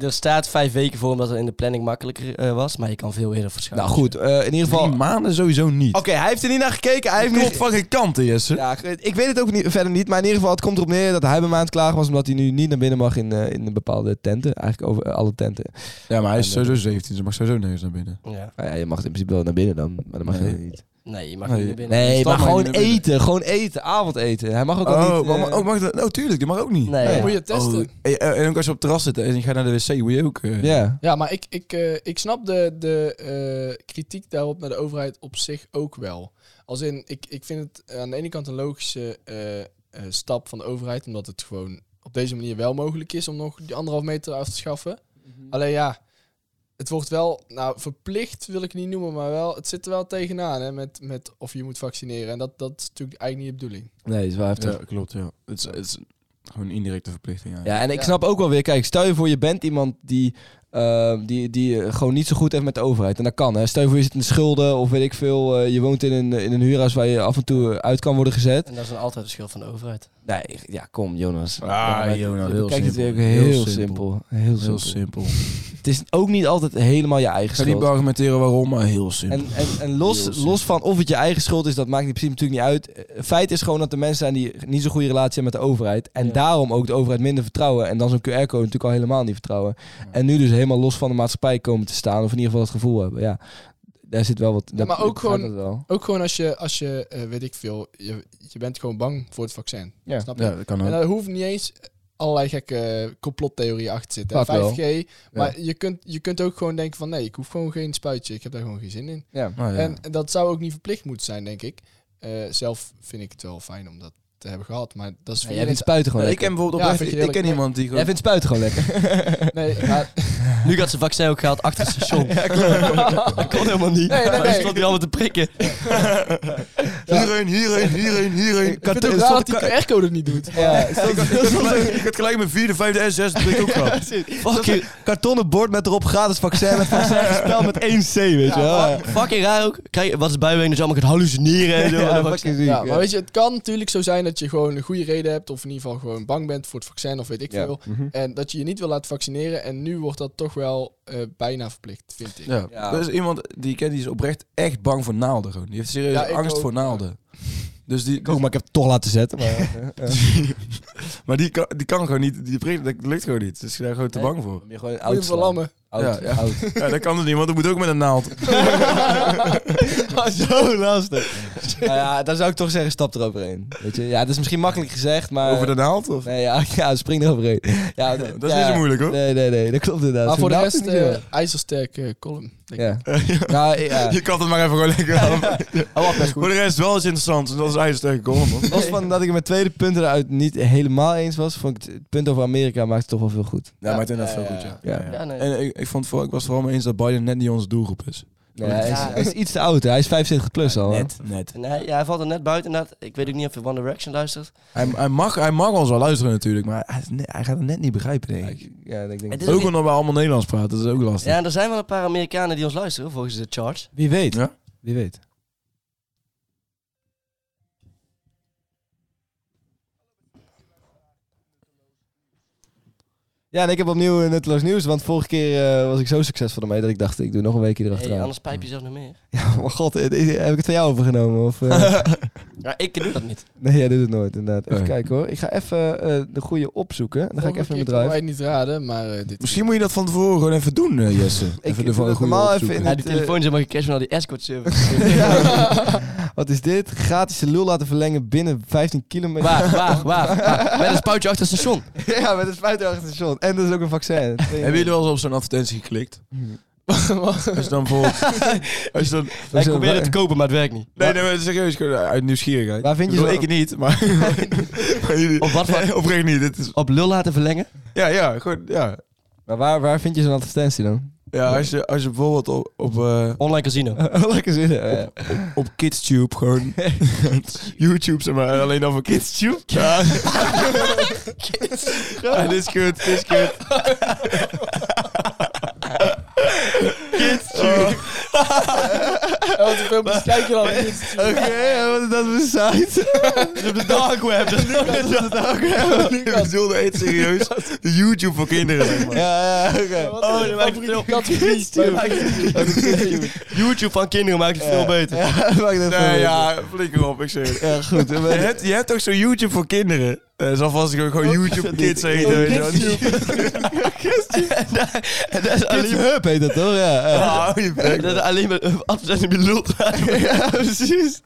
Speaker 4: Er staat vijf weken voor omdat het in de planning makkelijker eh, was. Maar je kan veel eerder verschuiven.
Speaker 2: Nou goed, eh, in ieder geval.
Speaker 5: dus- Drie
Speaker 2: Oké,
Speaker 5: maanden sowieso niet.
Speaker 2: hij heeft er niet naar gekeken. Hij heeft
Speaker 5: Klopt
Speaker 2: niet.
Speaker 5: van geen kanten, Jesse.
Speaker 2: Ja, ik weet het ook niet, verder niet, maar in ieder geval, het komt erop neer dat hij bij mij aan het klagen was, omdat hij nu niet naar binnen mag in, eh, in bepaalde tenten. Eigenlijk over eh, alle tenten.
Speaker 5: Ja, maar hij is
Speaker 2: En,
Speaker 5: sowieso 17. Ze mag sowieso nergens naar binnen.
Speaker 4: Ja.
Speaker 2: Nou ja, je mag in principe wel naar binnen dan, maar dan mag
Speaker 5: Nee.
Speaker 2: je niet.
Speaker 4: Nee, je mag
Speaker 5: Nee.
Speaker 4: niet naar binnen.
Speaker 2: Nee,
Speaker 5: Stap
Speaker 2: maar
Speaker 5: maar
Speaker 2: gewoon
Speaker 5: niet naar binnen.
Speaker 2: eten. Gewoon eten. Avondeten. Hij mag ook al niet...
Speaker 5: maar-
Speaker 2: eh,
Speaker 5: maar- oh, mag dat? Oh, tuurlijk. Die mag ook niet.
Speaker 4: Nee,
Speaker 3: Dan
Speaker 4: ja.
Speaker 3: moet je testen.
Speaker 5: Oh, en, en ook als je op het terras zit eh, en je gaat naar de wc, moet je ook... eh,
Speaker 2: Ja.
Speaker 3: Ja, maar ik, ik, eh, ik snap de, de eh, kritiek daarop naar de overheid op zich ook wel. Als in, ik, ik vind het aan de ene kant een logische eh, eh, stap van de overheid, omdat het gewoon op deze manier wel mogelijk is om nog die anderhalf meter af te schaffen. Alleen ja, het wordt wel, nou verplicht wil ik het niet noemen, maar wel, het zit er wel tegenaan hè, met, met of je moet vaccineren. En dat, dat is natuurlijk eigenlijk niet de bedoeling.
Speaker 2: Nee, is wel heftig.
Speaker 5: Ja,
Speaker 2: Ja.
Speaker 5: klopt, ja. Het is, het is gewoon een indirecte verplichting eigenlijk.
Speaker 2: en ik
Speaker 3: Ja.
Speaker 2: snap ook wel weer... Kijk, stel je voor je bent iemand die, eh, die, die eh, gewoon niet zo goed heeft met de overheid. En dat kan, hè. Stel je voor je zit in de schulden of weet ik veel. eh, je woont in een, in een huurhuis waar je af en toe eh, uit kan worden gezet.
Speaker 4: En dat is dan altijd de schuld van de overheid.
Speaker 2: Nee, ja, kom Jonas.
Speaker 5: Ah,
Speaker 2: Ja, maar
Speaker 5: Jonas,
Speaker 2: je
Speaker 5: heel
Speaker 2: bekijkt het
Speaker 5: simpel.
Speaker 2: natuurlijk Heel,
Speaker 5: Heel
Speaker 2: simpel.
Speaker 5: simpel.
Speaker 2: Heel simpel.
Speaker 5: Heel simpel.
Speaker 2: Het is ook niet altijd helemaal je eigen
Speaker 5: Ik ga niet
Speaker 2: schuld.
Speaker 5: argumenteren waarom, maar heel simpel.
Speaker 2: En, en, en
Speaker 5: Heel
Speaker 2: los,
Speaker 5: simpel.
Speaker 2: los van of het je eigen schuld is, dat maakt in principe natuurlijk niet uit. Eh, Feit is gewoon dat er mensen zijn die niet zo'n goede relatie hebben met de overheid. En
Speaker 4: Ja.
Speaker 2: daarom ook de overheid minder vertrouwen. En dan zo'n QR-code natuurlijk al helemaal niet vertrouwen. En nu dus helemaal los van de maatschappij komen te staan. Of in ieder geval het gevoel hebben. Ja, daar zit wel wat. dat-
Speaker 3: maar ook
Speaker 2: ik begrijp
Speaker 3: gewoon-
Speaker 2: dat wel.
Speaker 3: Ook gewoon als je, als je eh, weet ik veel, je, je bent gewoon bang voor het vaccin.
Speaker 2: Ja,
Speaker 3: snap je?
Speaker 5: ja, dat kan ook.
Speaker 3: En dat hoeft niet eens allerlei gekke complottheorieën achter zitten.
Speaker 2: Vaak wel.
Speaker 3: 5G. Maar je, kunt, je kunt ook gewoon denken van nee, ik hoef gewoon geen spuitje. Ik heb daar gewoon geen zin in.
Speaker 2: Ja. Nou ja.
Speaker 3: En, en dat zou ook niet verplicht moeten zijn, denk ik. Eh, zelf vind ik het wel fijn om dat te hebben gehad. Maar dat is
Speaker 2: Ja,
Speaker 3: voor
Speaker 2: jij
Speaker 3: iedereen-
Speaker 2: vindt spuiten gewoon
Speaker 3: Ja,
Speaker 2: lekker.
Speaker 3: vind je
Speaker 5: ik,
Speaker 3: heerlijk.
Speaker 5: ken
Speaker 3: Ja, vind je
Speaker 5: iemand die
Speaker 2: Jij
Speaker 5: gewoon...
Speaker 2: vindt spuiten gewoon lekker.
Speaker 3: heerlijk. Nee, maar
Speaker 4: Nu gaat zijn vaccin ook gehaald achter het station. dat kon helemaal niet.
Speaker 3: Nee, nee,
Speaker 4: Maar
Speaker 3: nee.
Speaker 4: stond hier allemaal te prikken.
Speaker 5: Hierheen, hierheen, hierheen, hierheen.
Speaker 3: ik vind het ook raar dat die QR-code het niet doet.
Speaker 2: Ja,
Speaker 5: Ik had- ik had gelijk- ik had gelijk mijn vierde, vijfde en zesde prik ook gehad.
Speaker 4: Fucking,
Speaker 2: Kartonnen bord met erop gratis vaccin met vaccin gespeld met 1C, weet je wel. Ja,
Speaker 4: fucking raar ook. Kijk, wat is bijween? Dus allemaal gaat hallucineren en zo.
Speaker 2: Ja,
Speaker 4: En dan
Speaker 2: fucking ziek,
Speaker 3: Ja,
Speaker 2: ja.
Speaker 3: maar weet je, het kan natuurlijk zo zijn dat je gewoon een goede reden hebt, of in ieder geval gewoon bang bent voor het vaccin, of weet ik
Speaker 2: Ja. Mhm.
Speaker 3: veel. En dat je je niet wil laten vaccineren. En nu wordt dat toch wel eh, bijna verplicht, vind ik.
Speaker 5: Ja.
Speaker 2: Ja.
Speaker 5: Er is iemand die ik ken, die is oprecht echt bang voor naalden. Gewoon. Die heeft serieus
Speaker 3: Ja, ik
Speaker 5: angst
Speaker 3: ook.
Speaker 5: voor naalden. Dus die,
Speaker 2: Ik ook, maar ik heb het toch laten zetten. Maar,
Speaker 5: maar die kan, die kan gewoon niet, die prik, dat lukt gewoon niet. Dus ik ben gewoon te
Speaker 2: Nee.
Speaker 5: bang voor.
Speaker 2: je gewoon
Speaker 3: Moet je verlammen.
Speaker 5: Ja, ja. Ja, dat kan dus niet, want dat moet ook met een naald.
Speaker 2: Zo lastig. nou ja, dan zou ik toch zeggen, stap eroverheen. Weet je? Ja, het is misschien makkelijk gezegd, maar...
Speaker 5: Over de naald? Of?
Speaker 2: Nee, ja, ja spring eroverheen. Ja,
Speaker 5: Dat is niet zo moeilijk hoor.
Speaker 2: Nee, nee, nee, dat klopt inderdaad.
Speaker 3: Maar voor de
Speaker 2: Nou,
Speaker 3: rest,
Speaker 2: niet zo.
Speaker 3: eh, ijzersterk eh, column. denk ik.
Speaker 2: ja. Nou, ik- ja.
Speaker 5: Je kan het maar even gewoon lekker aan.
Speaker 3: Oh,
Speaker 5: Voor de rest wel eens interessant. Dus dat is eigenlijk tegenkomen. man.
Speaker 2: Los van dat ik het met tweede punten eruit niet helemaal eens was, vond ik het, het punt over Amerika maakt het toch wel veel goed.
Speaker 5: Ja, maar het inderdaad
Speaker 3: ja,
Speaker 5: veel
Speaker 3: ja.
Speaker 5: goed, ja.
Speaker 2: Ja.
Speaker 5: Ja, ja.
Speaker 4: Ja, nee.
Speaker 5: En ik, ik, vond vooral, ik was het vooral mee eens dat Biden net niet onze doelgroep is.
Speaker 2: Nee, hij, is, hij is iets te oud, hè. hij is 75 plus al. hè.
Speaker 5: Net, net.
Speaker 4: En hij, ja, hij valt er net buiten. inderdaad. Ik weet ook niet of je One Direction luistert.
Speaker 5: Hij, hij, mag, hij mag ons wel luisteren natuurlijk, maar hij, is net- hij gaat het net niet begrijpen, denk ik.
Speaker 2: Ja, ik denk
Speaker 4: Het is
Speaker 5: Ook omdat we allemaal Nederlands praten, dat is ook lastig.
Speaker 4: Ja, en er zijn wel een paar Amerikanen die ons luisteren, volgens de charts.
Speaker 2: Wie weet.
Speaker 5: Ja.
Speaker 2: Wie weet. Ja, en ik heb opnieuw eh, nutteloos nieuws, want vorige keer eh, was ik zo succesvol ermee dat ik dacht, ik doe nog een weekje
Speaker 4: Hey,
Speaker 2: erachteraan.
Speaker 4: anders pijp je zelf nog meer.
Speaker 2: Ja, maar god, eh, eh, heb ik het van jou overgenomen? Of, eh?
Speaker 4: Ja, ik doe dat niet.
Speaker 2: nee, jij doet het nooit, inderdaad. Even
Speaker 5: Nee.
Speaker 2: kijken hoor. Ik ga even eh, de goede opzoeken. Dan ga ik
Speaker 3: Volgende
Speaker 2: even in
Speaker 3: keer
Speaker 2: bedrijf.
Speaker 3: kunnen wij het niet raden, maar eh, dit
Speaker 5: Misschien moet je dat van tevoren gewoon even doen, eh, Jesse. Even
Speaker 2: doe
Speaker 5: ervan
Speaker 2: dat
Speaker 5: een goede
Speaker 2: normaal
Speaker 5: opzoeken.
Speaker 2: even in
Speaker 4: Ja,
Speaker 2: het-
Speaker 4: die
Speaker 2: eh,
Speaker 4: telefoon is helemaal gecashed naar die escort service.
Speaker 2: Wat is dit? Gratis de lul laten verlengen binnen 15 kilometer.
Speaker 4: waar, waar, waar, waar? Met een spuitje achter het station.
Speaker 2: Ja, met een spuit achter het station. En dat is ook een vaccin.
Speaker 5: Hebben jullie wel eens op zo'n advertentie geklikt? als je dan bijvoorbeeld... als je dan,
Speaker 4: Hij
Speaker 2: Hoezo?
Speaker 4: probeerde het te kopen, maar het werkt niet.
Speaker 5: nee, nee, maar serieus, gewoon uit nieuwsgierigheid.
Speaker 2: Waar vind je
Speaker 5: Ik bedoel,
Speaker 2: zo'n-
Speaker 5: Ik niet, maar... maar jullie-
Speaker 4: Op wat voor-
Speaker 5: Nee, oprecht niet. Dit is,
Speaker 4: Op lul laten verlengen?
Speaker 5: ja, ja, gewoon, ja.
Speaker 2: Maar waar, waar vind je zo'n advertentie dan?
Speaker 5: Ja, als je, als je bijvoorbeeld op, op, eh,
Speaker 4: Online casino.
Speaker 2: Lekker zin. Ja.
Speaker 5: op KidsTube gewoon... YouTube, zeg maar. Alleen dan voor KidsTube. Ja. Ja, dit is kut, dit is kut.
Speaker 3: Oh, wat een filmpjes kijk je dan niet.
Speaker 2: Oké, wat is dat voor site?
Speaker 4: op de dark web.
Speaker 5: Ik bedoelde echt serieus. De YouTube voor kinderen, zeg maar.
Speaker 2: Ja, ja, oké.
Speaker 3: Wat
Speaker 4: dat
Speaker 3: een
Speaker 4: Oh, maakt
Speaker 3: favoriete categorie.
Speaker 4: YouTube van kinderen maakt het veel beter.
Speaker 2: Ja, maakt het veel
Speaker 5: Nee, ja, flikker op, ik zeg het.
Speaker 2: beter. Ja, goed.
Speaker 5: Je hebt, je hebt ook zo'n YouTube voor kinderen. Dat zal vast ook
Speaker 2: Oh,
Speaker 5: gewoon YouTube Kids heten. weet je wel.
Speaker 4: En dat is
Speaker 2: Kids
Speaker 4: alleen,
Speaker 2: Hub heet dat toch? Ja, ja.
Speaker 5: Ah, hou je bek.
Speaker 4: dat is alleen maar eh, advertentie met lul.
Speaker 2: ja precies.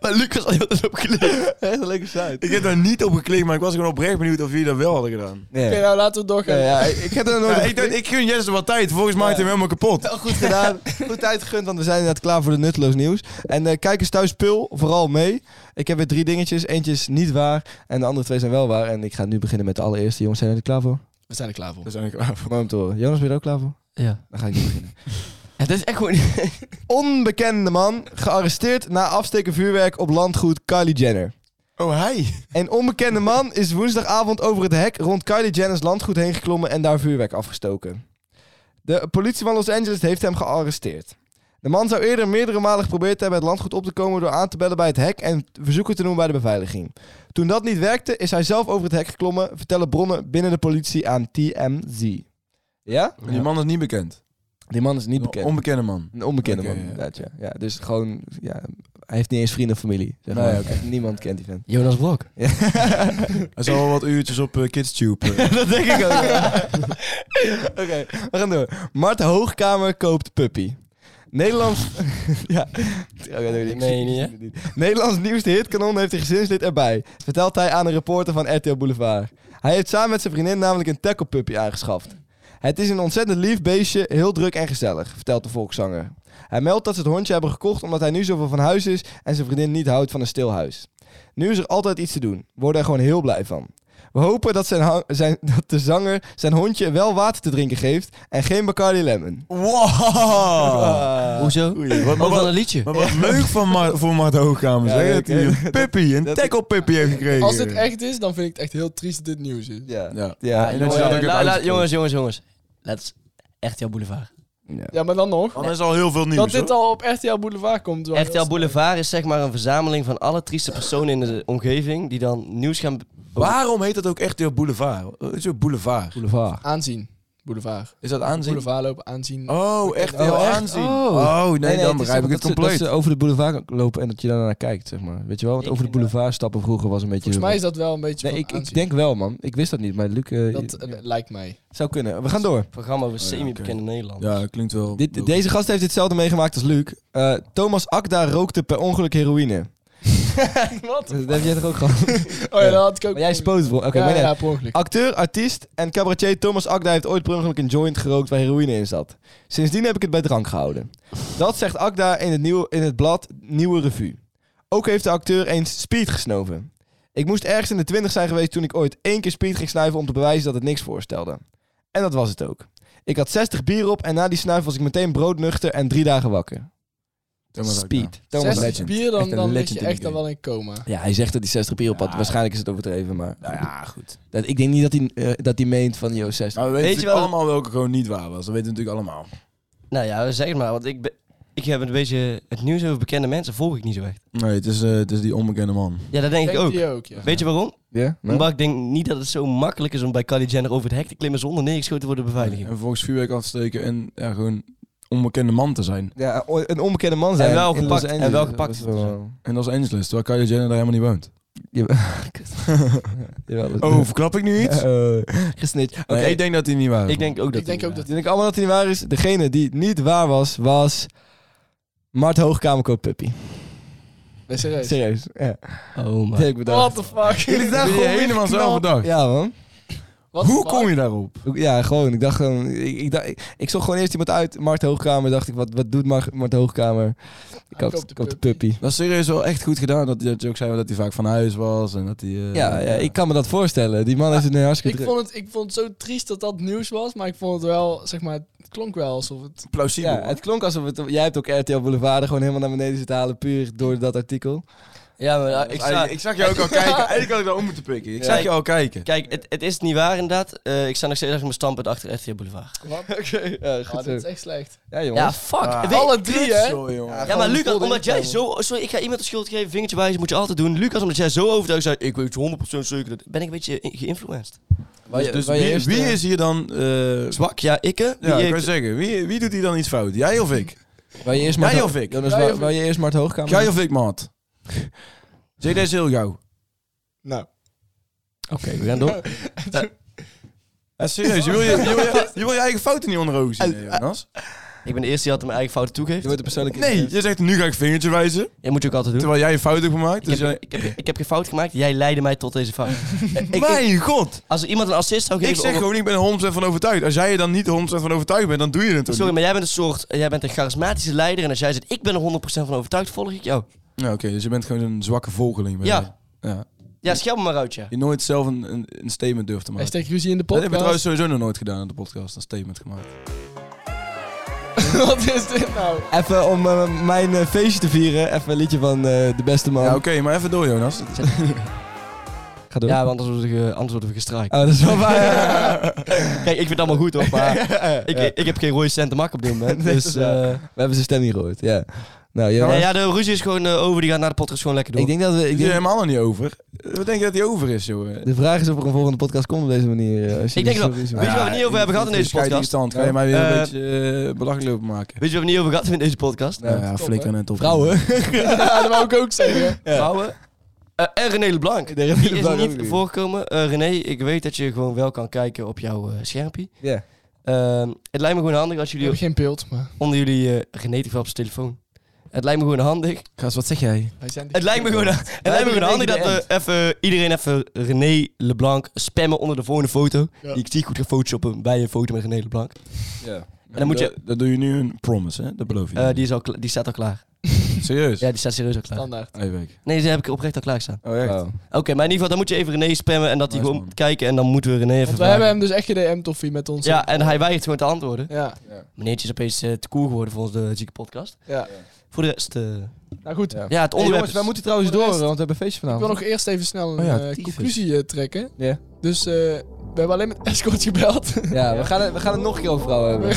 Speaker 4: Maar Lucas had dat opgelegd.
Speaker 2: Echt een leuke site.
Speaker 5: Ik heb daar niet op geklikt, maar ik was gewoon oprecht benieuwd of jullie dat wel hadden gedaan.
Speaker 2: Nee.
Speaker 3: Oké, nou laten we
Speaker 2: Ja,
Speaker 3: doorgaan.
Speaker 2: ja, ik, Nou, ik heb er nooit
Speaker 5: Ja,
Speaker 2: op
Speaker 5: ik, dacht, ik gun Jesse wat tijd, volgens mij maakt hij hem helemaal kapot.
Speaker 2: Wel goed gedaan. Goed uitgegund, want we zijn inderdaad klaar voor de nutteloos nieuws. En eh kijk eens thuis pul, vooral mee. Ik heb weer drie dingetjes. Eentje is niet waar en de andere twee zijn wel waar. En ik ga nu beginnen met de allereerste. Jongens, zijn jullie er klaar voor?
Speaker 3: We zijn er klaar voor.
Speaker 5: Daar zijn we klaar voor.
Speaker 2: Mooi om te horen. Jonas, ben je er ook klaar voor?
Speaker 4: Ja.
Speaker 2: Dan ga ik nu beginnen.
Speaker 4: Het is echt gewoon...
Speaker 2: Onbekende man, gearresteerd na afsteken vuurwerk op landgoed Kylie Jenner.
Speaker 5: Oh, hij.
Speaker 2: Een onbekende man is woensdagavond over het hek rond Kylie Jenner's landgoed heen geklommen en daar vuurwerk afgestoken. De politie van Los Angeles heeft hem gearresteerd. De man zou eerder meerdere malen geprobeerd te hebben het landgoed op te komen door aan te bellen bij het hek en verzoeken te doen bij de beveiliging. Toen dat niet werkte, is hij zelf over het hek geklommen, vertellen bronnen binnen de politie aan TMZ. Ja?
Speaker 5: Die man is niet bekend.
Speaker 2: Die man is niet bekend.
Speaker 5: Een onbekende man.
Speaker 2: Een onbekende
Speaker 5: Nou, Oké,
Speaker 2: man,
Speaker 5: ja.
Speaker 2: inderdaad, ja. ja. Dus gewoon, ja, hij heeft niet eens vrienden of familie. Zeg
Speaker 5: Nee,
Speaker 2: maar.
Speaker 5: oké.
Speaker 2: Echt Niemand kent die vent.
Speaker 4: Jonas Blok.
Speaker 5: Hij zal wel wat uurtjes op eh, KidsTube. eh.
Speaker 2: Dat denk ik ook. ja. Oké, we gaan door. Mart Hoogkamer koopt puppy. Nederlands... ja. Oké, doe ik.
Speaker 4: meen je
Speaker 2: Nederlands nieuwste hitkanon heeft een gezinslid erbij. Vertelt hij aan een reporter van RTL Boulevard. Hij heeft samen met zijn vriendin namelijk een tackle puppy aangeschaft. Het is een ontzettend lief beestje, heel druk en gezellig, vertelt de volkszanger. Hij meldt dat ze het hondje hebben gekocht omdat hij nu zoveel van huis is en zijn vriendin niet houdt van een stil huis. Nu is er altijd iets te doen. We worden er gewoon heel blij van. We hopen dat, zijn, hang- zijn, dat de zanger zijn hondje wel water te drinken geeft en geen Bacardi Lemon.
Speaker 5: Ah.
Speaker 2: Ah.
Speaker 5: Wow!
Speaker 4: Hoezo?
Speaker 5: Oei, wat,
Speaker 4: Wat
Speaker 5: wat,
Speaker 4: van een liedje?
Speaker 5: maar wat leuk van Mar- voor Mart Hoogkamer.
Speaker 2: Ja,
Speaker 5: zeg,
Speaker 2: leuk,
Speaker 5: dat hij
Speaker 2: hè?
Speaker 5: een puppy, een
Speaker 2: Dat-
Speaker 5: tackle puppy heeft gekregen.
Speaker 3: Als dit echt is, dan vind ik het echt heel triest dat dit nieuws is.
Speaker 2: Ja.
Speaker 5: Ja.
Speaker 2: Ja,
Speaker 4: Ja,
Speaker 5: en dat je
Speaker 4: ja,
Speaker 5: dat ook
Speaker 4: la-
Speaker 5: hebt
Speaker 4: la-
Speaker 5: uitgekozen.
Speaker 4: jongens, jongens, jongens. Let's echt jouw boulevard.
Speaker 3: Ja, maar dan nog.
Speaker 5: Dan is al heel veel nieuws,
Speaker 3: dat dit
Speaker 5: hoor.
Speaker 3: al op RTL Boulevard komt. wel heel
Speaker 4: RTL
Speaker 3: snel.
Speaker 4: Boulevard is zeg maar een verzameling van alle trieste personen in de omgeving die dan nieuws gaan... be-
Speaker 5: Waarom heet dat ook echt heel boulevard? Het is ook boulevard.
Speaker 2: Boulevard.
Speaker 3: Aanzien. Boulevard.
Speaker 5: Is dat aanzien?
Speaker 3: Boulevard lopen, aanzien.
Speaker 5: Oh, echt
Speaker 3: Oh,
Speaker 5: heel
Speaker 2: echt?
Speaker 5: aanzien.
Speaker 2: Oh.
Speaker 5: Oh, nee, dan begrijp ik het compleet.
Speaker 2: Ze, dat ze over de boulevard lopen en dat je daarnaar kijkt, zeg maar. Weet je wel, want over de boulevard stappen vroeger was een beetje...
Speaker 3: Volgens mij is dat wel een
Speaker 2: Nee,
Speaker 3: beetje van
Speaker 2: ik, ik
Speaker 3: aanzien.
Speaker 2: denk wel, man. Ik wist dat niet, maar Luc... eh,
Speaker 3: Dat eh, lijkt mij.
Speaker 2: Zou kunnen. We gaan door.
Speaker 4: Programma
Speaker 2: Oh
Speaker 4: over
Speaker 5: ja,
Speaker 4: semi-bekende Nederland.
Speaker 5: Ja, klinkt wel.
Speaker 2: Dit, deze gast heeft hetzelfde meegemaakt als Luc. Eh, Thomas Akda rookte per ongeluk heroïne.
Speaker 3: Wat?
Speaker 2: Dat heb jij toch ook gehad?
Speaker 3: Oh ja, dat had ik ook.
Speaker 2: Maar jij
Speaker 3: per ongeluk.
Speaker 2: spoot wel. Oké,
Speaker 3: ja,
Speaker 2: maar
Speaker 3: ja,
Speaker 2: nee.
Speaker 3: per ongeluk.
Speaker 2: Acteur, artiest en cabaretier Thomas Akda heeft ooit per ongeluk een joint gerookt waar heroïne in zat. Sindsdien heb ik het bij drank gehouden. Dat zegt Akda in het, nieuw, in het blad Nieuwe Revue. Ook heeft de acteur eens speed gesnoven. Ik moest ergens in de twintig zijn geweest toen ik ooit één keer speed ging snuiven om te bewijzen dat het niks voorstelde. En dat was het ook. Ik had 60 bier op en na die snuif was ik meteen broodnuchter en drie dagen wakker. Speed. Thomas
Speaker 3: 60
Speaker 2: Legend.
Speaker 3: bier, dan,
Speaker 2: Echt een
Speaker 3: dan lig
Speaker 2: legend
Speaker 3: je
Speaker 2: in die
Speaker 3: echt dan
Speaker 2: game.
Speaker 3: wel in coma.
Speaker 2: Ja, hij zegt dat hij 60 bier op had.
Speaker 5: Ja.
Speaker 2: Waarschijnlijk is het overdreven, maar...
Speaker 5: Nou ja, goed.
Speaker 2: Dat, ik denk niet dat hij, eh, dat hij meent van, yo, 60.
Speaker 5: Maar we weten
Speaker 4: Weet je
Speaker 5: natuurlijk
Speaker 4: wel-
Speaker 5: allemaal welke gewoon niet waar was. Dat weten we natuurlijk allemaal.
Speaker 4: Nou ja, zeg het maar, want ik, be- ik heb een beetje... Het nieuws over bekende mensen volg ik niet zo echt.
Speaker 5: Nee, het is, eh, het is die onbekende man.
Speaker 4: Ja, dat denk ik
Speaker 3: Denkt
Speaker 4: ook.
Speaker 3: die ook, ja.
Speaker 4: Weet je waarom?
Speaker 2: Ja? Nou?
Speaker 4: Omdat ik denk niet dat het zo makkelijk is om bij Kylie Jenner over het hek te klimmen zonder neergeschoten te worden door
Speaker 5: En
Speaker 4: beveiliging.
Speaker 5: vervolgens vuurwerk af te steken en ja, gewoon onbekende man te zijn.
Speaker 2: Ja, o- een onbekende man zijn.
Speaker 4: En wel
Speaker 2: in Los
Speaker 4: gepakt, en
Speaker 2: Angeles.
Speaker 4: wel gepakt.
Speaker 2: Dat was wel-
Speaker 5: In Los Angeles, terwijl Kylie Jenner daar helemaal niet woont.
Speaker 2: Jawel, dat-
Speaker 5: Oh, verklap ik nu iets?
Speaker 2: Eh, gesnitcht. Oké,
Speaker 5: Nee, ik denk dat hij niet waar was.
Speaker 4: Ik denk ook dat
Speaker 3: Ik denk ook dat...
Speaker 2: ik denk allemaal dat hij niet waar is. Degene die niet waar was, was... Mart Hoogkamer koopt puppy.
Speaker 3: Nee, serieus.
Speaker 2: Serieus. Ja.
Speaker 4: Oh
Speaker 2: Dat heb
Speaker 4: man.
Speaker 2: ik bedacht.
Speaker 3: What the fuck?
Speaker 5: Jullie daar gewoon helemaal zelf bedacht.
Speaker 2: Ja, man.
Speaker 3: What the
Speaker 5: Hoe
Speaker 3: fuck?
Speaker 5: kom je daarop?
Speaker 2: Ja, gewoon. Ik dacht gewoon... Ik, ik, dacht- ik, ik zocht gewoon eerst iemand uit. Mart Hoogkamer. Dacht ik, wat, wat doet Mart, Mart Hoogkamer? Ik
Speaker 3: Hij
Speaker 2: koop
Speaker 3: koopt
Speaker 2: de,
Speaker 3: de
Speaker 2: koopt de
Speaker 3: puppy.
Speaker 2: puppy.
Speaker 5: Dat is serieus wel echt goed gedaan. Dat, dat je ook zei dat hij vaak van huis was. En dat hij, eh,
Speaker 2: Ja, ja, ik kan me dat voorstellen. Die man is een hartstikke
Speaker 3: Ah,
Speaker 2: druk.
Speaker 3: Ik vond, het, ik vond het zo triest dat dat nieuws was, maar ik vond het wel, zeg maar, het klonk wel alsof het...
Speaker 5: Plausibel.
Speaker 2: Ja, het klonk alsof het... Jij hebt ook RTL Boulevard er gewoon helemaal naar beneden zitten halen... puur door dat artikel.
Speaker 4: Ja, maar
Speaker 5: Ja,
Speaker 4: ja, ik sta...
Speaker 5: zag je ook al kijken. Eigenlijk had ik daar om moeten pikken. Ik
Speaker 4: Ja.
Speaker 5: zag je al kijken.
Speaker 4: Kijk, het, het is niet waar inderdaad. Eh, ik sta nog steeds achter mijn standpunt achter RTL Boulevard.
Speaker 3: Wat?
Speaker 2: Ja,
Speaker 3: Ah, dit is echt slecht.
Speaker 2: Ja, jongens.
Speaker 4: Ja, fuck.
Speaker 5: Ah.
Speaker 4: Weet-
Speaker 3: Alle drie, hè?
Speaker 5: Sorry, jongen.
Speaker 4: Ja, maar
Speaker 3: Gewoon
Speaker 4: Lucas,
Speaker 3: vol
Speaker 4: omdat jij
Speaker 3: erin
Speaker 4: zo... Sorry, ik ga iemand de schuld geven, vingertje wijzen, moet je altijd doen. Lucas, omdat jij zo overtuigd zei, ik weet 100% zeker dat... Ben ik een beetje in- geïnfluenced.
Speaker 2: Waar je-
Speaker 5: Dus
Speaker 2: waar je
Speaker 5: wie,
Speaker 2: eerst,
Speaker 5: wie
Speaker 2: eh,
Speaker 5: is hier dan... eh,
Speaker 4: Zwak, ja, ik. hè?
Speaker 5: ja,
Speaker 4: Wie
Speaker 5: ik
Speaker 4: ik-
Speaker 5: kan zeggen. Wie, wie doet hier dan iets fout? Jij of ik?
Speaker 2: Waar je eerst
Speaker 5: Jij
Speaker 2: Mart-
Speaker 5: of ik?
Speaker 2: Jonas,
Speaker 3: Jij
Speaker 2: waar,
Speaker 3: of
Speaker 2: waar je eerst Mart Hoogkamer...
Speaker 5: Jij of ik, maat? Zeg dat is heel gauw.
Speaker 3: Nou.
Speaker 4: Oké, we gaan door.
Speaker 5: Ja, serieus, je wil je, je, wil je, je wil je eigen fouten niet onder ogen zien, hè, Jonas?
Speaker 4: Ik ben de eerste die altijd mijn eigen fouten toegeeft.
Speaker 2: Je wordt een persoonlijke...
Speaker 5: Nee, je zegt nu ga ik vingertje wijzen,
Speaker 4: Dat moet je ook altijd doen.
Speaker 5: terwijl jij een fout hebt gemaakt. Dus
Speaker 4: ik,
Speaker 5: jij...
Speaker 4: heb, ik, heb, ik heb geen fout gemaakt, jij leidde mij tot deze fout. Eh, ik- ik-
Speaker 5: Mijn god!
Speaker 4: Als er iemand een assist zou geven...
Speaker 5: Ik zeg
Speaker 4: of-
Speaker 5: gewoon, ik ben er 100% van overtuigd. Als jij er dan niet 100% van overtuigd bent, dan doe je het toch
Speaker 4: Sorry,
Speaker 5: niet?
Speaker 4: maar jij bent een soort... Jij bent een charismatische leider en als jij zegt, ik ben er 100% van overtuigd, volg ik jou.
Speaker 5: Ja, oké, dus je bent gewoon een zwakke volgeling. ben
Speaker 4: Ja.
Speaker 5: je. ja.
Speaker 4: Ja, schel me maar uit, ja.
Speaker 5: Je nooit zelf een, een, een statement durft te
Speaker 3: Hij
Speaker 5: maken.
Speaker 3: steekt ruzie in de
Speaker 5: Dat hebben we
Speaker 3: podcast.
Speaker 5: trouwens sowieso nog nooit gedaan in de podcast, een statement gemaakt.
Speaker 3: Wat is dit nou?
Speaker 2: Even om eh, mijn eh, feestje te vieren. Even een liedje van eh, De Beste Man.
Speaker 5: Ja, oké, maar even door, Jonas.
Speaker 2: Ga door.
Speaker 4: Ja, want anders worden we, ge- anders worden we gestrikt.
Speaker 2: Oh, dat is wel waar. ja.
Speaker 4: Kijk, ik vind het allemaal goed hoor, maar ik, ik heb geen rode cent te maken op dit moment.
Speaker 2: Nee,
Speaker 4: Dus,
Speaker 2: dat is waar.
Speaker 4: eh,
Speaker 2: We hebben zijn stem niet gehoord. Ja. Nou, Jonas.
Speaker 4: nee, ja, de ruzie is gewoon eh, over, die gaat naar de podcast gewoon lekker door.
Speaker 2: Ik denk dat we... Ik
Speaker 5: Ik is er
Speaker 2: denk,
Speaker 5: helemaal nog niet over. Wat denk je dat hij over is, joh?
Speaker 2: de vraag is of er een volgende podcast komt op deze manier. eh, als je
Speaker 4: Ik denk
Speaker 2: dit
Speaker 4: wel.
Speaker 2: zo- zo-
Speaker 4: Weet je waar we het niet over hebben gehad in deze podcast?
Speaker 5: Stand. Ga je mij weer een
Speaker 4: Eh,
Speaker 5: beetje eh, belachelijk lopen maken?
Speaker 4: Weet je wat we niet over gehad hebben in deze podcast?
Speaker 5: Nou ja,
Speaker 3: top,
Speaker 5: flikker
Speaker 3: hè?
Speaker 5: net op.
Speaker 2: Vrouwen.
Speaker 3: Ja, dat wou ik ook zeggen.
Speaker 4: Vrouwen. Eh, en René LeBlanc.
Speaker 2: Nee, René
Speaker 4: die
Speaker 2: LeBlanc
Speaker 4: is
Speaker 2: ook
Speaker 4: niet
Speaker 2: niet.
Speaker 4: voorgekomen. Eh, René, ik weet dat je gewoon wel kan kijken op jouw eh, schermpje.
Speaker 2: Ja.
Speaker 4: Ehm, het lijkt me gewoon handig als
Speaker 3: Ik
Speaker 4: jullie
Speaker 3: heb geen beeld, maar...
Speaker 4: onder jullie eh René te op zijn telefoon. Het lijkt me gewoon handig.
Speaker 5: Gast, wat zeg jij?
Speaker 4: Het lijkt me gewoon, het lijkt me gewoon handig dat we even, iedereen even René LeBlanc spammen onder de volgende foto.
Speaker 5: Ja.
Speaker 4: Die ik zie goed ga photoshoppen bij een foto met René LeBlanc.
Speaker 5: Ja.
Speaker 4: En dan moet je,
Speaker 5: Dat doe je nu een promise, hè? Dat beloof je.
Speaker 4: eh, die, is al, kla- die staat al klaar.
Speaker 5: Serieus?
Speaker 4: Ja, die staat serieus al klaar.
Speaker 3: Standaard.
Speaker 5: Hey, week.
Speaker 4: Nee, die heb ik oprecht al klaarstaan.
Speaker 5: Oh, echt?
Speaker 4: Oké, maar in ieder geval, dan moet je even René spammen en dat hij
Speaker 5: Nice,
Speaker 4: gewoon kijken en dan moeten we René even
Speaker 3: Want we
Speaker 4: vragen.
Speaker 3: hebben hem dus echt gedm toffie met ons.
Speaker 4: Ja, en hij weigert gewoon te antwoorden.
Speaker 3: Ja,
Speaker 4: Meneertje is opeens eh, te cool geworden volgens de zieke podcast.
Speaker 3: ja.
Speaker 4: Voor de rest, eh,
Speaker 3: Nou goed,
Speaker 2: Ja.
Speaker 4: ja, het
Speaker 2: Hey,
Speaker 4: onderwerp
Speaker 2: jongens, wij
Speaker 4: is-
Speaker 2: moeten trouwens
Speaker 3: Voor de
Speaker 2: door,
Speaker 3: rest-
Speaker 2: want we hebben een feestje
Speaker 3: ik
Speaker 2: vanavond.
Speaker 3: wil nog eerst even snel een
Speaker 5: Oh ja,
Speaker 3: eh,
Speaker 5: tyfus.
Speaker 3: conclusie eh, trekken.
Speaker 2: Ja.
Speaker 3: Dus eh, we hebben alleen met escort gebeld.
Speaker 2: Ja, we gaan, het- we gaan het nog een keer over vrouwen hebben.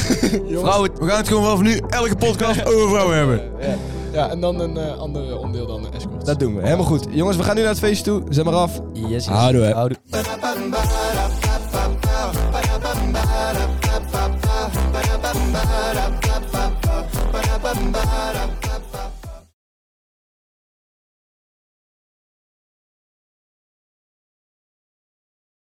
Speaker 4: Vrouwen,
Speaker 5: We gaan het gewoon vanaf nu elke podcast over vrouwen hebben.
Speaker 3: ja, en dan een eh ander onderdeel dan de escort.
Speaker 2: Dat doen we. Helemaal goed. Jongens, we gaan nu naar het feestje toe. Zet maar af.
Speaker 4: yes, yes.
Speaker 2: Houdoe, hè.
Speaker 4: Houdoe.